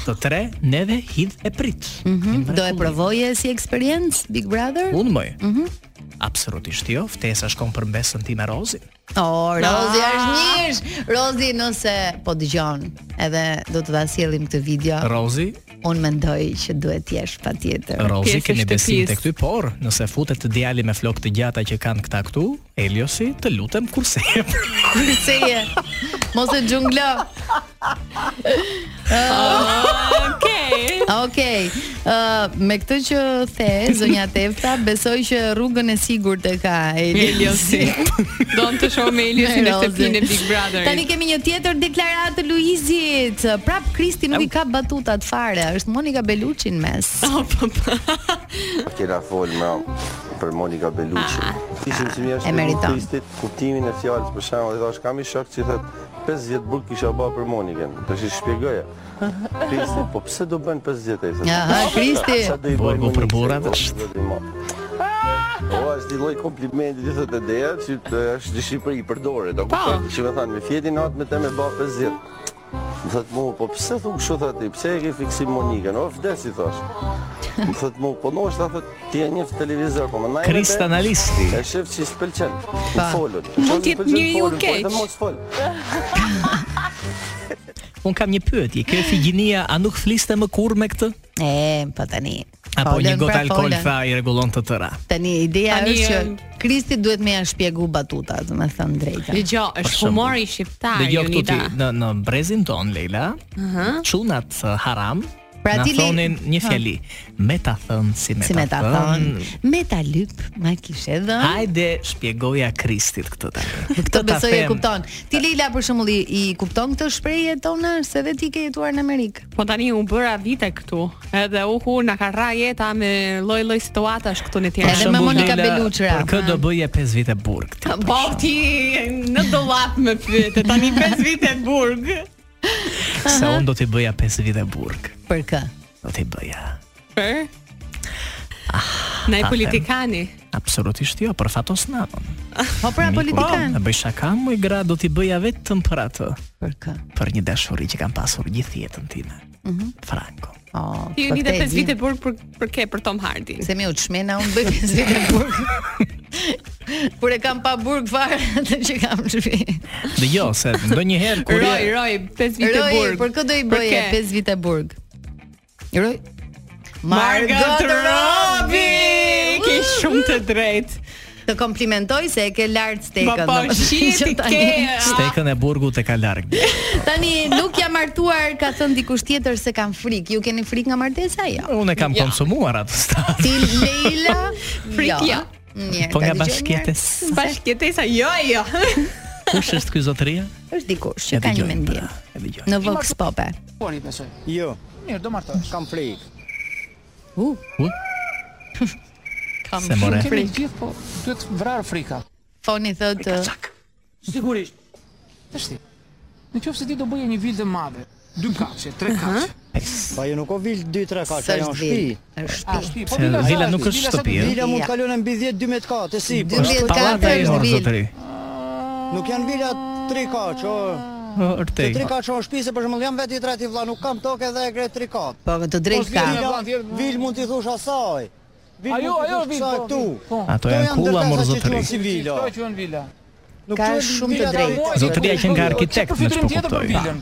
D: Të tre neve hidh e prit.
B: Mhm, Do e Mhm. provoje si eksperiencë Big Brother?
D: Unë moj. Absolutisht jo, ftesa shkon për mbesën time Rozin.
B: O, Rozi është njësh. Rozi nëse po dëgjon, edhe do të ta sjellim këtë video.
D: Rozi,
B: Unë mendoj që duhet të jesh patjetër. <laughs>
D: Rozi
C: Pjesë
D: keni
C: e
D: besim
C: shtëpisë.
D: tek ty, por nëse futet të djali me flokë të gjata që kanë këta këtu, Eliosi, të lutem kurse.
B: Kurse je. Mos e xhunglo.
C: Okej.
B: <laughs> Okej. Ë, me këtë që the zonja Tefta, besoj që rrugën e sigurt e ka Eliosi.
C: Eliosi. Don të shoh me Eliosin në
B: Rozi.
C: shtëpinë e Big Brother. <laughs>
B: Tani kemi një tjetër deklaratë të Luizit. Prap Kristi nuk i ka batutat fare, është Monika Bellucci në mes.
C: Po,
I: Kena fol me për Monika Bellucci. Ishin që mjeshtë
B: Ah, e meriton.
I: kuptimin e fjalës për shembull, i thash kam i shok që thot 50 burg kisha bë për Monikën. Tash i
B: <laughs>
I: shpjegoja. Kristi, po pse do bën 50 ai?
B: Aha, Kristi.
D: Burgu për burrat është.
I: O, Po, është një lloj komplimenti di thotë ideja që të- është një Shqipëri i përdoret, do
C: Po.
I: kupton? Që më thanë, me fjeti natë me te me bë 50. Më thëtë mu, po pse thu kështu thëtë ti, pse e ke fiksim Monikën, o vdes i thash. Më thëtë mu, po noshta thëtë ti e njeh televizor, po më na e
D: Krist
I: vete."
D: analisti.
I: E shef që i s'pëlqen, i folën.
C: Mund t'jetë njëri ju keq.
I: Po edhe mos fol.
D: Un kam një pyetje, kjo Figinia a nuk fliste më kurrë me këtë?
B: E, po tani.
D: Apo
B: folën
D: një gotë
B: pra
D: alkool
B: folën.
D: tha i rregullon të tëra.
B: Tani ideja
C: Tani, um,
B: është
C: em,
B: që Kristi duhet më ja shpjegu batutat, me thënë drejtën.
C: Dëgjoj, është
D: shembull.
C: humori shqiptar,
D: Dëgjoj jo këtu ti
C: Jonida.
D: në në brezin ton Leila. Çunat uh, haram.
B: Pra
D: na
B: ti, Lej-
D: thonin një fjali. Me ta thën si me
B: Si me ta thon, me ta lyp, ma kishe dhënë.
D: Hajde shpjegoja Kristit këtë tani.
B: Këtë
D: ta
B: besoj e
D: them.
B: kupton. Ti Leila për shembull i, i kupton këtë shprehje tona se edhe ti ke jetuar në Amerikë.
C: Po tani u bëra vite këtu. Edhe uhu na ka rra jeta me lloj-lloj situatash këtu në
B: Edhe me
D: Për
C: Tiranë.
D: shembull,
B: Monika
D: Leila,
B: Bellucci,
D: Për kë
B: ma.
D: do bëje 5 vite burg ti. për
C: Po
D: shembull.
C: ti në dollap më pyete. Tani 5 vite burg.
D: Se unë do t'i bëja 5 vite burg.
B: Për kë?
D: Do t'i bëja.
C: Për?
B: Ah,
C: Na i
D: them.
C: politikani.
D: Absolutisht jo, për fatos namën.
B: Po pra politikan.
D: Në bëj shaka, më i gra do t'i bëja vetëm për atë.
B: Për kë?
D: Për një dashuri që kam pasur gjithë jetën time.
B: Mhm.
D: Franko.
B: Oh,
C: Ti
B: po
C: jeni dhe
B: këtë e
C: 5
B: di.
C: vite burg për për ke për Tom Hardy.
B: Se mi u çmena unë bëj 5 vite burg. Kur e kam pa burg fare <laughs> atë që kam në shtëpi.
D: Dhe jo, se ndonjëherë kur je-
C: Roj, roj, 5 vite
B: Roj,
C: burg.
B: për kë do i
C: Për
B: bëje
C: ke?
B: 5 vite burg? Roj.
C: Margot Robbie, ke
B: Uhu!
C: shumë të drejtë.
B: Të komplimentoj se e ke lart
C: Po
B: stekën.
C: po,
B: domethënë,
C: shit,
B: <laughs> që
C: ti
B: tani-
C: ke.
D: Stekën e burgut e ka larg.
B: Tani nuk jam martuar, ka thënë dikush tjetër se kam frikë. Ju keni frikë nga martesa jo?
D: Unë e kam
C: Ja.
D: konsumuar atë stad.
B: Ti Leila,
C: <laughs> Frikë,
B: jo.
C: ja.
B: Mirë,
D: Po
B: ta
D: nga
B: dëgjojmë
D: bashkjetës.
B: njerë.
C: Bashkëtesa, jo, jo.
B: Po
D: Kush është ky zotëria?
B: Është dikush që ka një
D: dëgjojmë,
B: mendim.
D: pra, E dëgjoj.
B: Në Vox Pope.
E: Por i besoj.
H: Jo,
E: Mirë, do martohesh.
H: kam frikë.
B: U,
D: U,
B: kam
D: se more.
E: Kemi gjithë, po duhet vrarë frika.
B: Foni thotë
E: Sigurisht. Tash ti. Në qoftë se ti do bëje një vilë të madhe, dy kafshe, tre kafshe.
J: Pa ju nuk o vil 2-3 kaç,
B: Së
J: po, ajo
B: është
J: është shtëpi.
B: vil, është shtëpi.
E: Po vila
D: Se vila
E: sa
D: nuk është
E: vila sa
D: shtëpi,
E: të-
D: ëh.
J: Vila mund të kalon mbi 10 12 katë, si. po.
B: 12
D: Pallata
B: katër
D: e
B: është
D: orë,
B: vil.
D: zotëri.
J: Nuk janë vila 3 kaç, o. Te
B: Oh.
D: Ërtej.
J: 3 kaç o shtëpi se për shembull jam vetë i tretë i vlla, nuk kam tokë edhe e gre 3 kaç.
B: Po të drejtë ka.
E: Vila- villa-
J: Vil mund t'i thosh asaj. Vil
E: Ajo,
J: mund t'i
E: ajo,
J: thosh
E: vil,
J: kësaj
E: po,
J: këtu.
E: vil, po.
D: Ato
J: Këto
D: janë
J: janë
D: kulla
J: ndërtesa
D: morë
J: që
D: zotëri.
J: quhen si vila.
E: Kjo quhen vila.
J: Nuk
B: Ka
J: quhen
B: shumë të
J: vila
B: drejtë.
J: drejtë.
D: Zotëria që nga arkitekt, nëse
E: Çfarë
D: po
E: përfitim tjetër për
D: kuptoj.
E: vilën?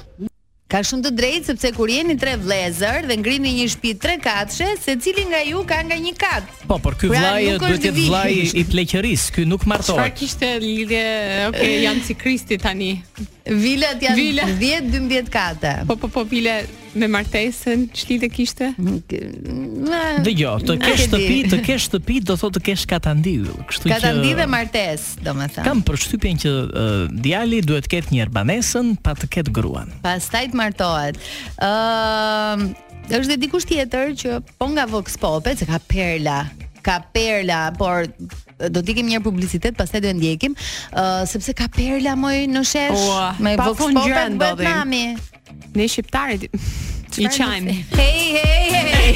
B: Ka shumë të drejtë sepse kur jeni tre vëllezër dhe ngrini një shtëpi tre katëshe, secili nga ju ka nga një kat.
D: Po, por ky
B: Pra,
D: vllai
B: nuk
D: duhet
B: është
D: të jetë
B: vil.
D: vllai i pleqërisë, ky nuk
C: Çfarë
D: martohet.
C: kishte lidhje? Okej,
B: <laughs>
C: janë si Kristi tani.
B: Vilat janë
C: Vila.
B: 10 12 kate.
C: Po po po bile me martesën, ç'lidhje kishte?
D: Dëgjoj, të
B: Nuk
D: kesh
B: e di.
D: shtëpi, të kesh shtëpi do thotë të kesh katandill, kështu po që
B: Katandi dhe martes, domethënë.
D: Kam përshtypjen që uh, djali duhet të ketë një erbanesën pa të ketë gruan.
B: Pastaj të martohet. Ëm, është dhe dikush tjetër që po nga Vox Popet, se ka perla, ka perla, por do të ikim një herë publicitet, pastaj do e ndjekim, ë sepse ka perla moj në shesh
C: Ua,
B: me
C: pa
B: Vox
C: fund gjëra
B: Popet bëhet
C: ndodhin.
B: nami.
C: Ne shqiptarët <laughs> i çajmë.
B: Hey hey hey.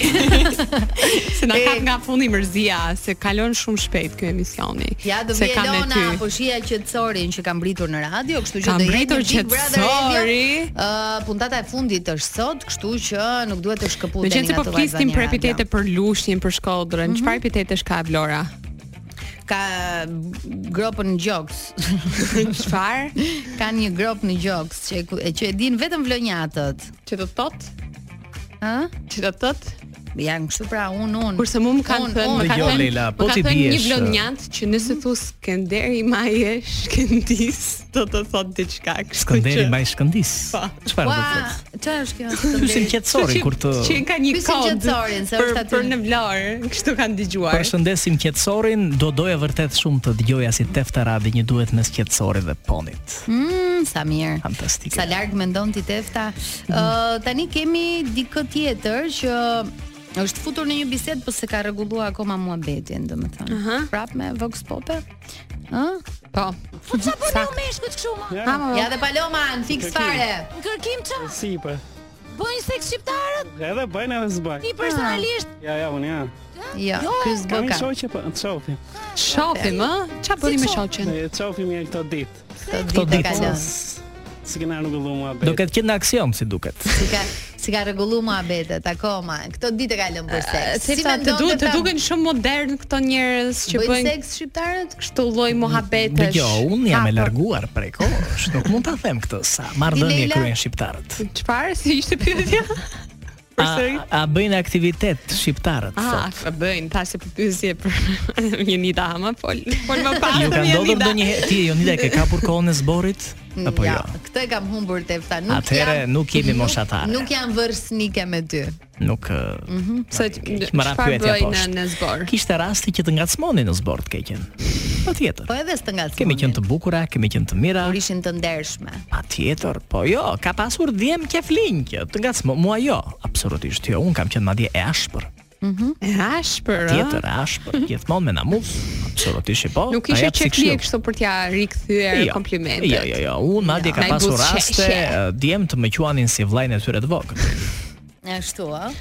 C: Se na
B: E.
C: kap nga fundi mërzia se kalon shumë shpejt ky emisioni.
B: Ja do
C: <laughs> se
B: vi
C: kam me
B: Elona,
C: ty.
B: po shija qetësorin që kam britur në radio, kështu që
C: Kam
B: do jetë
C: britur
B: një Big Brother Radio.
C: qetësori.
B: Ë puntata e fundit është sot, kështu që nuk duhet të
C: Me
B: shkëputeni
C: qenë se
B: nga
C: po
B: të vajza
C: flisnim
B: një
C: për
B: radio.
C: epitete për lushnjën, për shkodrën,
B: Mhm.
C: çfarë epitetesh ka e Vlora?
B: <laughs> ka gropën në gjoks. <laughs>
C: Çfarë?
B: Kanë një grop në gjoks që e ku- e që e din vetëm vlonjatët.
C: Që do të thotë?
B: Ë?
C: Që do të thotë?
B: Janë kështu pra un un.
C: Kurse mu më kanë
B: Un,
C: thënë,
B: un.
C: më kanë
D: Dëgjoj,
C: thënë,
D: Leila,
C: më
D: po
C: kanë
D: ti
C: thënë një
D: diesh,
C: blonjant që nëse thu Skënder i maje Shkëndis, do të thotë diçka. kështu
D: Skënderi
C: që-
D: mbaj Shkëndis.
C: Pa.
D: Çfarë do
B: Ua,
D: të thotë?
B: çfarë është kjo?
D: Pyesim qetësorin
C: Kështu
D: kur të
C: që ka një
B: Pyesim
C: kod.
B: qetësorin, se
C: për-
B: është aty.
C: Për në Vlorë, kështu kanë dëgjuar.
D: Përshëndesim qetësorin, do doja vërtet shumë të dëgjoja si Tefta Rabi një duhet mes qetësorit dhe ponit.
B: Mm, sa mirë.
D: Fantastike.
B: Sa larg mendon ti Tefta? Ë tani kemi dikë tjetër që është futur në një bisedë po se ka rregulluar akoma muhabetin, domethënë.
C: Aha.
B: Prap me Vox Pope. Ë? Sa
C: Po.
B: Ja dhe Paloma në fix fare.
H: Si po. Edhe bëjnë edhe s'baj.
B: Personalisht.
H: Ja, ja, unë ja.
B: Jo, ky s'bë
H: Kam i
B: ka.
H: shoqe po, të shofi.
C: Shofim, Ah, ë? Çfarë bëni me shoqen?
H: E shofi mirë këto ditë.
B: Këto ditë ka lënë.
H: Si kena nuk gëllu mua
D: Do ketë qenë në aksion si duket.
B: Si ka si ka rregullu muhabetet akoma. Këto ditë e ka lënë për seks.
C: Se ta Eh, të
B: mendon
C: duhet të
B: ta-
C: duken shumë modern këto njerëz që
B: pra- bëjnë
C: bëjnë
B: seks shqiptarët?
C: kështu lloj mohabetesh.
D: Dëgjoj, unë jam e
C: Hapër.
D: larguar prej kohësh, nuk mund ta them këtë sa marrëdhënie
B: Ti, Leila?
D: kryen shqiptarët.
C: Çfarë si ishte pyetja?
D: A,
C: Përsëri?
D: a bëjnë aktivitet shqiptarët
C: Ah,
D: sot?
C: ka bëjnë tash po pyetje për <laughs> Jonida ama fol. Fol më pas.
D: Ju ka ndodhur ndonjëherë ti Jonida e ke kapur kohën e zborit
C: Mm,
D: apo jo?
B: Mm, Këtë e kam humbur te fta. Nuk
D: Atëhere,
B: jam-
D: nuk jemi moshatare.
B: Nuk jam vërsnike me ty.
D: Nuk ë,
C: Se
D: më ra
C: Mhm. çfarë
D: pyetja
C: bëjnë në,
D: poshtë.
C: në zbor?
D: Kishte rasti që të ngacmonin në zbor të keqen. Patjetër.
B: Po edhe s'të ngacmonin.
D: Kemi qenë të bukura, kemi qenë të mira.
B: kur ishin të ndershme.
D: Patjetër, po jo, ka pasur djem qef linj që të ngacmo, mua jo, absolutisht jo, un kam qenë madje e ashpër.
C: E ashpër. ë?
D: Tjetër e ashpër, gjithmonë me namus, absolutisht po.
C: Nuk
D: ta
C: ishe
D: jap si
C: çekli
D: këshill.
C: kështu për t'ja rikthyer komplimentet.
D: Jo, jo, jo. Unë madje ka
C: Na i
D: pasur
C: but
D: raste
C: sheshe.
D: eh, djem të më quanin si vllajën e tyre të vogël.
B: Ashtu, ë?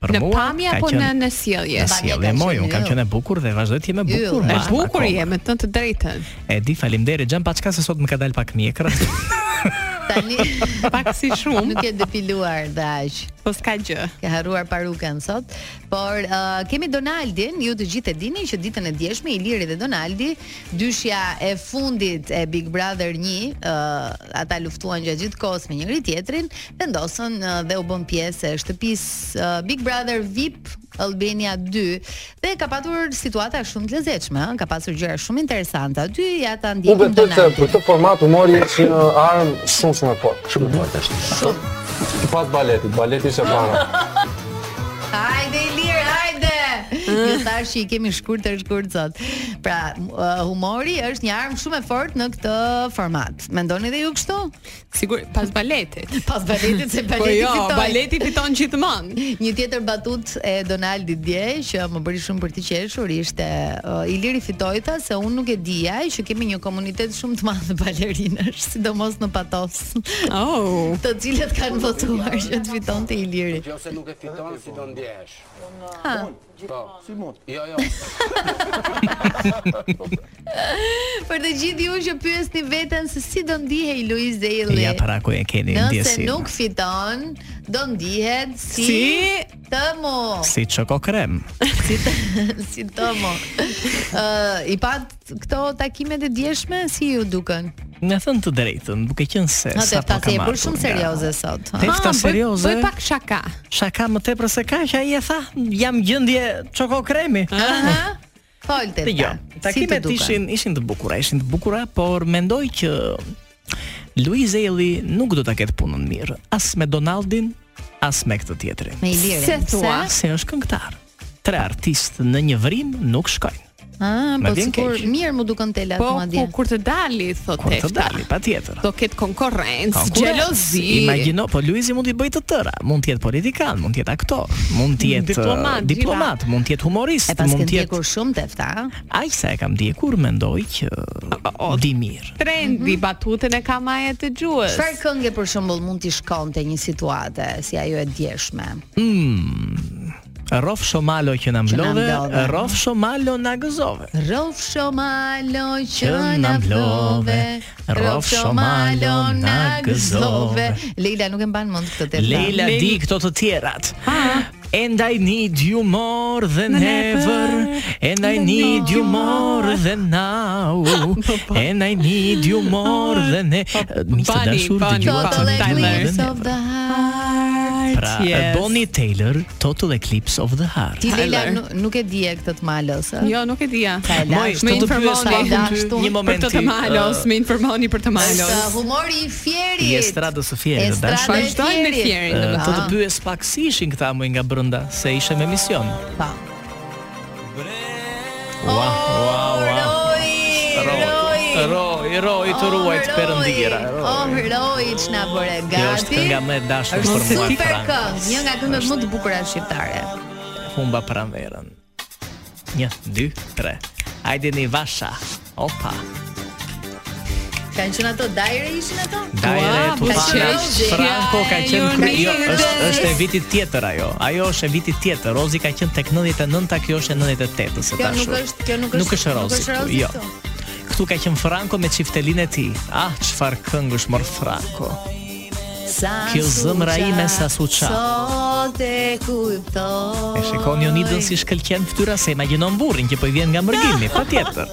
D: Për
C: Në
D: mua,
C: pamje
D: ka
C: apo
D: qenë-
C: në në sjellje?
D: Në sjellje
B: ka
D: moj,
B: qenë
D: unë kam
B: yll.
D: qenë e bukur dhe vazhdoj të jem e
B: Yll,
D: bukur.
B: e
D: ma,
C: Është bukur
D: akoma.
C: je me të të drejtën.
D: E di, faleminderit xhan, paçka se sot më ka dal pak mjekër.
B: Tani <laughs>
C: Pak si shumë,
B: nuk e depiluar dhe aq.
C: po s'ka gjë.
B: Ke harruar parukën sot, por uh, kemi Donaldin, ju të gjithë e dini që ditën e djeshme Iliri dhe Donaldi, dyshja e fundit e Big Brother 1, uh, ata luftuan gjatë gjithë kohës me njëri tjetrin, vendosën uh, dhe u bën pjesë e shtëpisë uh, Big Brother VIP Albania 2 dhe ka patur situata shumë të lezetshme, ëh, ka pasur gjëra shumë interesante aty, ja ta ndjekim Donaldin.
H: këtë format u mori që arm shumë shumë e fortë. Shumë e fortë është. Shumë. Pas baletit, baleti ishte para.
B: Hajde Ilir, hajde. Ju thash që i kemi shkurt të shkurt sot. Pra, m- ë, humori është një armë shumë e fortë në këtë format. Mendoni dhe ju kështu?
C: Sigur, pas baletit.
D: Po
B: Pas baletit se baleti
C: <laughs> po jo,
B: fitoi.
C: baleti fiton gjithmonë.
B: Një tjetër batut e Donaldit dje që më bëri shumë për të qeshur ishte uh, Iliri Fitojta se unë nuk e dija që kemi një komunitet shumë të madh balerinash, sidomos në Patos. <laughs>
C: Oh.
B: të cilët kanë votuar që të fitonte Iliri.
K: Jo se nuk e fiton, si do ndjesh.
B: Ha.
K: Po, si mund? Jo, jo.
B: Për të gjithë ju që pyesni veten se si do ndihej Luiz Zeilli.
D: Ja para ku e keni
B: Nëse
D: ndjesin.
B: nuk fiton, do ndihet si,
D: Si?
B: tëmo. <laughs>
D: Si çoko krem.
B: Si të, si tëmo. Ë, i pat këto takimet e djeshme si ju duken?
D: Nga thënë të drejtën, duke qenë se
B: Na
D: sa po
B: tefta
D: kam
B: se
D: marrë.
B: për shumë serioze sot. ha?
C: Ah,
B: Ha,
D: Tefta
B: bëj-
D: serioze.
B: bëj pak-
C: shaka.
D: Shaka më tepër se kaq, ai e tha, jam gjendje çoko kremi.
B: Aha. Fol tefta.
D: Dgjoj, takimet ishin ishin jo, të bukura, ishin të bukura, por mendoj që Luiz Eli nuk do ta ketë punën mirë, as me Donaldin, as me këtë tjetrin.
B: Me Ilirin.
D: Se thua
B: Pse?
D: se është këngëtar. Tre artistë në një vrim nuk shkojnë.
B: Ah,
D: Me
B: po
D: vjen
B: sikur
D: keq.
B: mirë më duken telat
C: Po,
B: madje.
C: ku kur të dali, thot
D: Kur të
C: Tefta.
D: dali, patjetër.
B: Po,
C: Do ketë konkurrencë,
D: Konkurrencë.
C: xhelozi.
D: Imagjino, po Luizi mund t'i bëj të tëra. Mund të jetë politikan, mund të jetë aktor, mund të jetë
B: Diplomat,
D: uh, diplomat, mund të jetë humorist,
B: E pas ke
D: mund të jetë
B: ndjekur shumë tefta. ha?
D: aq sa e kam ndjekur, mendoj që di mirë.
C: Trendi batutën e ka maja të gjuhës.
B: Çfarë këngë për shembull mund t'i shkonte një situatë si ajo e djeshme?
D: Mm. Rof Shomalo që na mblodhe,
B: mblodhe.
D: Rof Shomalo na gëzove.
B: Rof shomalo
D: Që
B: që na
D: na
B: mblove,
D: mblove,
B: Rof shomalo na gëzove.
D: gëzove.
B: Leila nuk e mban mend këtë tepë.
D: Leila di këto të tjerat. And I need you more than ever. And I need you more than now. And I need you more than e- Mi të
B: Bunny,
D: dashur
B: Bunny,
D: dëgjova
B: Total
D: këngë të
B: Eclipse
D: Leila.
B: of the Heart.
D: e- Pra, uh, Bonnie Taylor, Total Eclipse of the Heart.
B: Ti Leila nu- nuk e di e këtë të malos, ë?
C: Jo, nuk e dia.
D: Moj,
C: Më
D: të të pyes
C: informoni
D: pak ty, një moment
C: Për të të
D: ti,
C: malos,
D: ë,
C: më informoni për të
B: Është
C: malos.
B: humori i fjerit.
D: I estradës së fjerit,
B: Estrada
D: dashur. Eh,
B: e Vazhdojmë me fjerit. fjerin,
D: Ë,
B: domethënë.
D: Do të pyes pak si ishin këta muj nga brenda, se ishe me mision.
B: Pa. Oh,
D: Wow, oh, wow, wow.
B: Roj,
D: Roj, roj të ruajt
B: Oh,
D: perëndira.
B: Roj.
D: Roj.
B: Oh, Roj, që na bëre
D: Kjo është
B: gati.
D: kënga më e dashur
B: Është
D: për mua, pra,
B: Super
D: Frank.
B: këngë, një nga këngët më të bukura shqiptare.
D: Humba pranverën. 1 2 3. Hajdeni Vasha. Opa.
B: Kanë qenë ato dajre ishin ato?
D: Dajre
B: Ua,
D: tu
B: ka qenë Rozi.
D: Franco ka qenë
B: Ju
D: kry- jo,
B: mirë.
D: është është e vitit tjetër ajo. Ajo është e vitit tjetër. Rozi ka qenë tek 99-ta, kjo është e 98-s së
B: Kjo
D: dashur.
B: nuk është, kjo nuk është.
D: pra, Nuk është Rozi. këtu, Jo.
B: këtu.
D: Këtu ka qenë Franco me çiftelinë e tij. Ah, çfarë këngë është mor Franco.
B: Sa
D: Kjo zëmra
B: suqa,
D: ime sa suqa.
B: Sot e kuptoj.
D: E shikon Jonidën si shkëlqen fytyra se imagjinon burrin që po i vjen nga mërgimi, patjetër.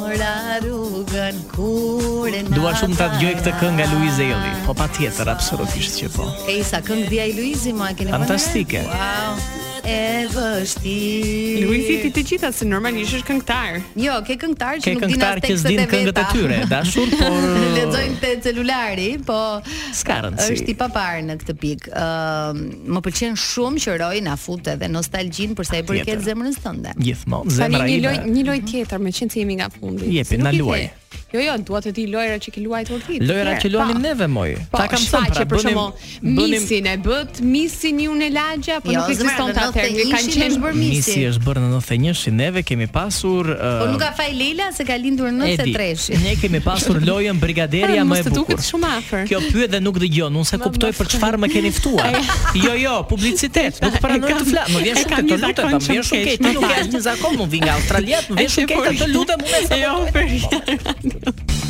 B: Ora rrugën kur e
D: Dua
B: nata
D: shumë ta dëgjoj këtë këngë nga Luiz Elli. Po patjetër, absolutisht që po.
B: E sa këngë dia i Luizi ma e keni vënë?
D: Fantastike.
B: Wow. E vështirë.
C: Luizi ti të gjitha se normalisht është këngëtar.
B: Jo, ke këngëtar që
D: Ke
B: nuk dinë as
D: këngëtar që
B: tekstet e
D: s'din
B: veta.
D: këngët e tyre,
B: <laughs>
D: dashur, por
B: Lexojnë te celulari, po
D: S'ka rëndësi.
B: Është i papar në këtë pikë. Ëm, më pëlqen shumë që Roy na fut edhe nostalgjinë për sa i përket
D: Patjetër.
B: zemrës tënde.
D: gjithmonë
C: Tani
D: zemra
C: një loj,
D: ime.
C: një loj tjetër, me qenë se jemi nga fundi.
D: Jepi,
C: Se nuk
D: na
C: i the.
D: luaj.
C: Jo, jo, dua të di lojra që ke luajtur ti.
D: Lojra
C: Herë,
D: që luanim
C: pa.
D: neve moj.
C: Po,
D: Ta kam thënë
C: për
D: pra, bënim
C: shembull,
D: bënim
C: misin e bët, misin ju në lagja, po
B: Jo,
C: nuk ekziston
B: zemra,
C: ta
B: në
C: atëherë,
B: 91
C: kanë qenë
B: është bërë misi.
D: Misi është bërë në 91-shin, neve kemi pasur
B: Po
D: ë,
B: nuk ka faj Leila se ka lindur në
D: Edi,
B: 93-shin.
D: Ne kemi
B: <laughs>
D: pasur lojën Brigaderia
B: Pra,
C: Ah,
D: më
C: mos
D: e
C: të
D: bukur.
C: duket shumë afër.
D: Kjo pyet dhe nuk dëgjon, unë se kuptoj për çfarë më keni ftuar. <laughs> Jo, jo, <laughs> publicitet, nuk pranoj
C: E kam-
D: të flas. Më vjen
C: e
D: shumë
C: kam
D: keq,
C: një
D: të lutem,
C: zakon
D: më vjen
C: shumë
D: shumë
C: keq,
D: <laughs> keq.
C: më
D: Ti nuk
C: fal.
D: je një zakon, unë vi nga Australia, më vjen
C: E
D: shumë keq,
C: por-
D: të lutem, unë <laughs> e
C: Jo, për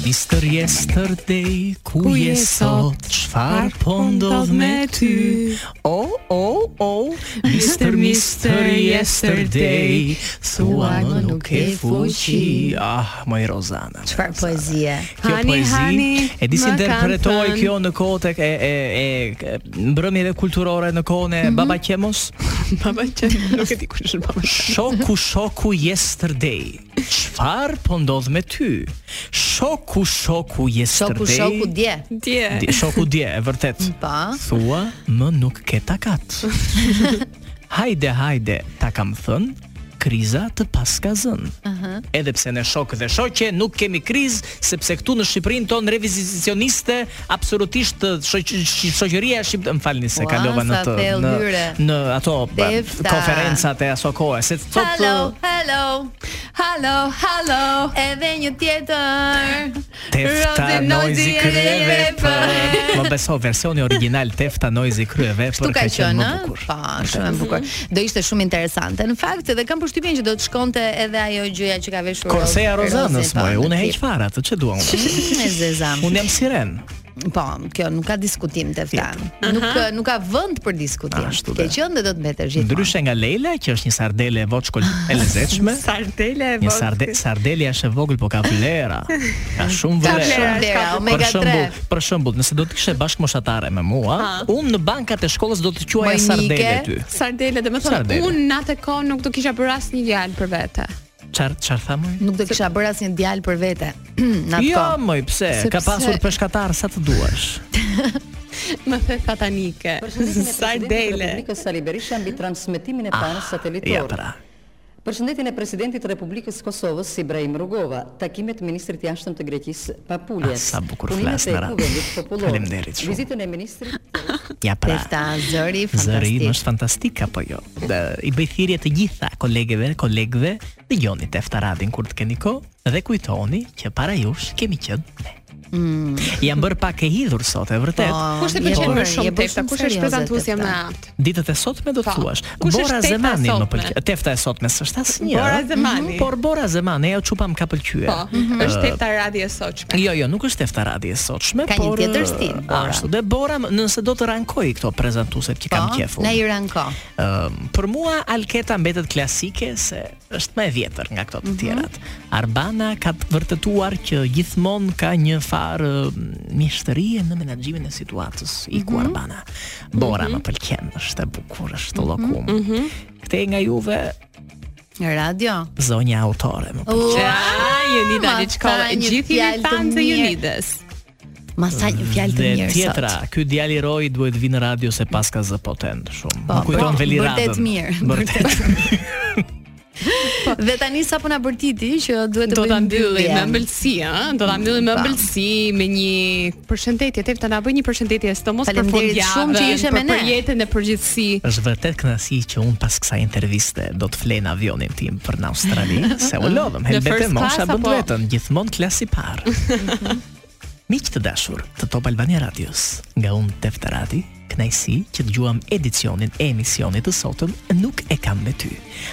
D: Mr. Yesterday, ku je sot? Çfarë po ndodh me ty? Oh, oh, oh, Mr. Mr. Yesterday, thua më nuk e fuqi. Ah, moj Rozana.
B: Çfarë poezie.
D: Kjo
C: Hani,
D: poezi
C: hani,
D: e di si
C: më
D: interpretoi
C: kanë thënë.
D: kjo në kohët e e e, e mbrëmjeve kulturore në kohën e Baba Qemos.
C: Mhm. <laughs> Baba që nuk e di kush është baba.
D: Shoku shoku yesterday. Çfarë po ndodh me ty? Shoku shoku
B: Shoku
D: yesterday.
B: shoku dje.
C: Dje.
D: Di- Shoku dje, e vërtet.
B: Pa.
D: Thua,
B: <laughs>
D: më nuk ke takat. hajde, hajde, ta kam thën. kriza të paska zën.
B: Aha.
D: Edhe pse ne shokë dhe shoqe nuk kemi krizë sepse këtu në Shqipërinë tonë revizicioniste absolutisht ë, shoq- sh- shoqëria shqiptare, më falni se
B: Ua,
D: kalova në
B: sa
D: të
B: thellë
D: në,
B: lyre.
D: në ato pa,
B: Tefta.
D: konferencat e aso kohe, se sot ë,
B: Hello, hello, hello, hello Edhe një tjetër
D: Tefta
B: Rozi,
D: Noizi
B: Noizi,
D: Kryeve për
B: Kryeve.
D: Më beso versioni original Tefta Noizi Kryeve
B: Kështu
D: për
B: ka qenë,
D: më
B: ëh?
D: bukur
B: pa, shumë e bukur. Do ishte shumë interesante. Në fakt, edhe kam përshtypjen që do të shkonte edhe ajo gjëja që ka veshur.
D: Korseja
B: Rozi,
D: Rozanës,
B: po,
D: moj,
B: në
D: unë e heq
B: klip.
D: fara, të që dua unë
B: Mm, e zeza.
D: Unë jam siren
B: Po, kjo nuk ka diskutim te fta. Nuk eh, nuk ka vend për diskutim.
D: Ashtu
B: Ke
D: dhe.
B: qenë dhe do të mbetesh gjithmonë.
D: Ndryshe nga Leila, që është një sardele e
B: <laughs>
D: voçkol e lezetshme
C: Sardele e
D: Një sarde, sardelia është e vogël, po ka
B: <laughs>
D: vlera. Ka shumë
B: Ka
D: vlera.
B: vlera, vlera, omega
D: për shembull, Jo, për shembull, nëse do të kishe bashkëmoshatare me mua,
C: Ha.
D: unë në bankat e shkollës do të quaja sardele ty.
C: Sardele, dhe më thonë,
D: Sardele.
C: unë në atë kohë nuk do kisha bërë asë një djalë për vete.
D: Çfar çfarë tha më?
B: Nuk do kisha bërë asnjë djalë për vete. <clears throat> Në atë
D: Jo,
B: kohë.
D: moj, pse? Ka
B: Sepse-
D: pasur peshkatar sa të duash.
C: Më the satanike. <laughs>
L: Sardele.
C: Sardele.
L: Republikës Sali Berisha mbi transmetimin
D: Ah,
L: e panës satelitor.
D: ja pra.
L: Përshëndetjen e presidentit të Republikës së Kosovës Ibrahim Rugova, takimet të ministrit të jashtëm të Greqisë Papuljes.
D: Ah, sa bukur
L: punimet
D: flas,
L: e
D: Nara.
L: Kuvendit Popullor.
D: Faleminderit shumë.
L: Vizitën e ministrit
D: Ja pra.
B: Tefta zëri
D: Zëri
B: fantastik.
D: më është fantastik apo jo? Dhe, I bëj thirrje të gjitha kolegeve, kolegëve, dëgjoni Tefta Radin kur të keni kohë dhe kujtoni që para jush kemi qenë ne.
B: Mm.
D: Jam bërë pak e hidhur sot, e vërtet.
C: Po, Kush të
D: Por-
C: pëlqen më shumë
B: je bërë
C: tefta?
B: shumë
C: Kush është
B: serioze
C: prezantuesja
B: Tefta.
C: më e apt?
D: Ditët e sotme do të
C: Po.
D: thuash.
C: Kush është
D: Bora
C: tefta e
D: Zemani më
C: sotme?
D: pëlqen. Tefta e sotme s'është asnjë.
C: Bora
D: ëh?
C: Zemani.
D: Mhm. Por Bora Zemani ajo çupa më ka pëlqyer.
C: Po, është
D: Ëh,
C: tefta radi e soqme.
D: Jo, jo, nuk është tefta radi e sotshme,
B: Ka një
D: por
B: tjetër
D: ë,
B: stil, Bora.
D: Ashtu dhe Bora, m- nëse do të rankoj këto prezantueset që kam qef.
B: Po,
D: unë.
B: na i ranko.
D: Ëm, Ehm, për mua Alketa mbetet klasike se është më e vjetër nga këto
B: Mhm.
D: të tjerat. Arbana ka të vërtetuar që gjithmonë ka një farë ëm, mjeshtërie në menaxhimin e situatës. Iku
B: Mhm.
D: Arbana. Bora më pëlqen, është e bukur, është
B: Mhm.
D: të llokum. Këtej nga juve
B: Radio.
D: zonja autore më pëlqen.
C: Ah, Jonida
B: Ma
C: Liçkova,
B: tha një
C: gjithë
B: fjalë
C: jemi
B: të
C: fanë të
B: mirë.
C: Jonides.
B: Ma sa një fjalë të
D: Dhe
B: mirë
D: tjetra,
B: sot.
D: ky djali Roy duhet vinë në radio se pas ka zë potent shumë.
B: Po,
D: Më kujton
B: po,
D: Veliradën.
B: vërtet mirë,
D: Vërtet.
B: <laughs> Dhe tani sapo na bërtiti që duhet të
C: Do ta
B: bëjmë
C: mbyllim me
B: mbyllje.
C: ëmbëlsi, ëh, do ta mbyllim me
B: Pa.
C: ëmbëlsi me një përshëndetje, tefta na bëj një përshëndetje së mos për
B: Faleminderit
C: fundjavën,
B: shumë që ishe me
C: për-
B: ne.
C: për jetën e përgjithësi.
D: Është vërtet kënaqësi që un pas kësaj interviste do të flej në avionin tim për në Australi, se u
C: <laughs>
D: lodhem,
C: Në
D: helbet e
C: first
D: mosha
C: class,
D: bën
C: apo?
D: vetën, gjithmonë klasi
C: <laughs>
D: parë. Miq të dashur të Top Albania Radios, nga un Tefta Radi, kënaqësi që dëgjuam edicionin e emisionit të sotëm nuk e kam me ty.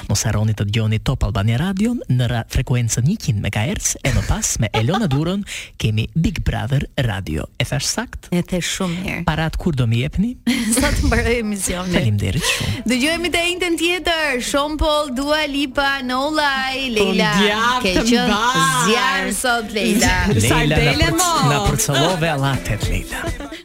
D: Mos harroni të dëgjoni Top Albania Radion në ra frekuencën 100 MHz e më pas me Elona Durën kemi Big Brother Radio. E thash sakt?
B: E the shumë mirë.
D: Parat kur do më jepni?
B: <laughs> Sa të mbaroj emisionin.
D: Faleminderit shumë.
B: Dëgjojmë të njëjtën tjetër. Sean Paul, Dua Lipa, No Lie,
D: Po
B: Leila.
C: djapt
B: Ke
C: të
B: qenë
C: mbar.
B: zjarr sot Leila.
D: Leila na
C: Sardele
D: përc-
C: mo.
D: na përcëllove Allatet Leila.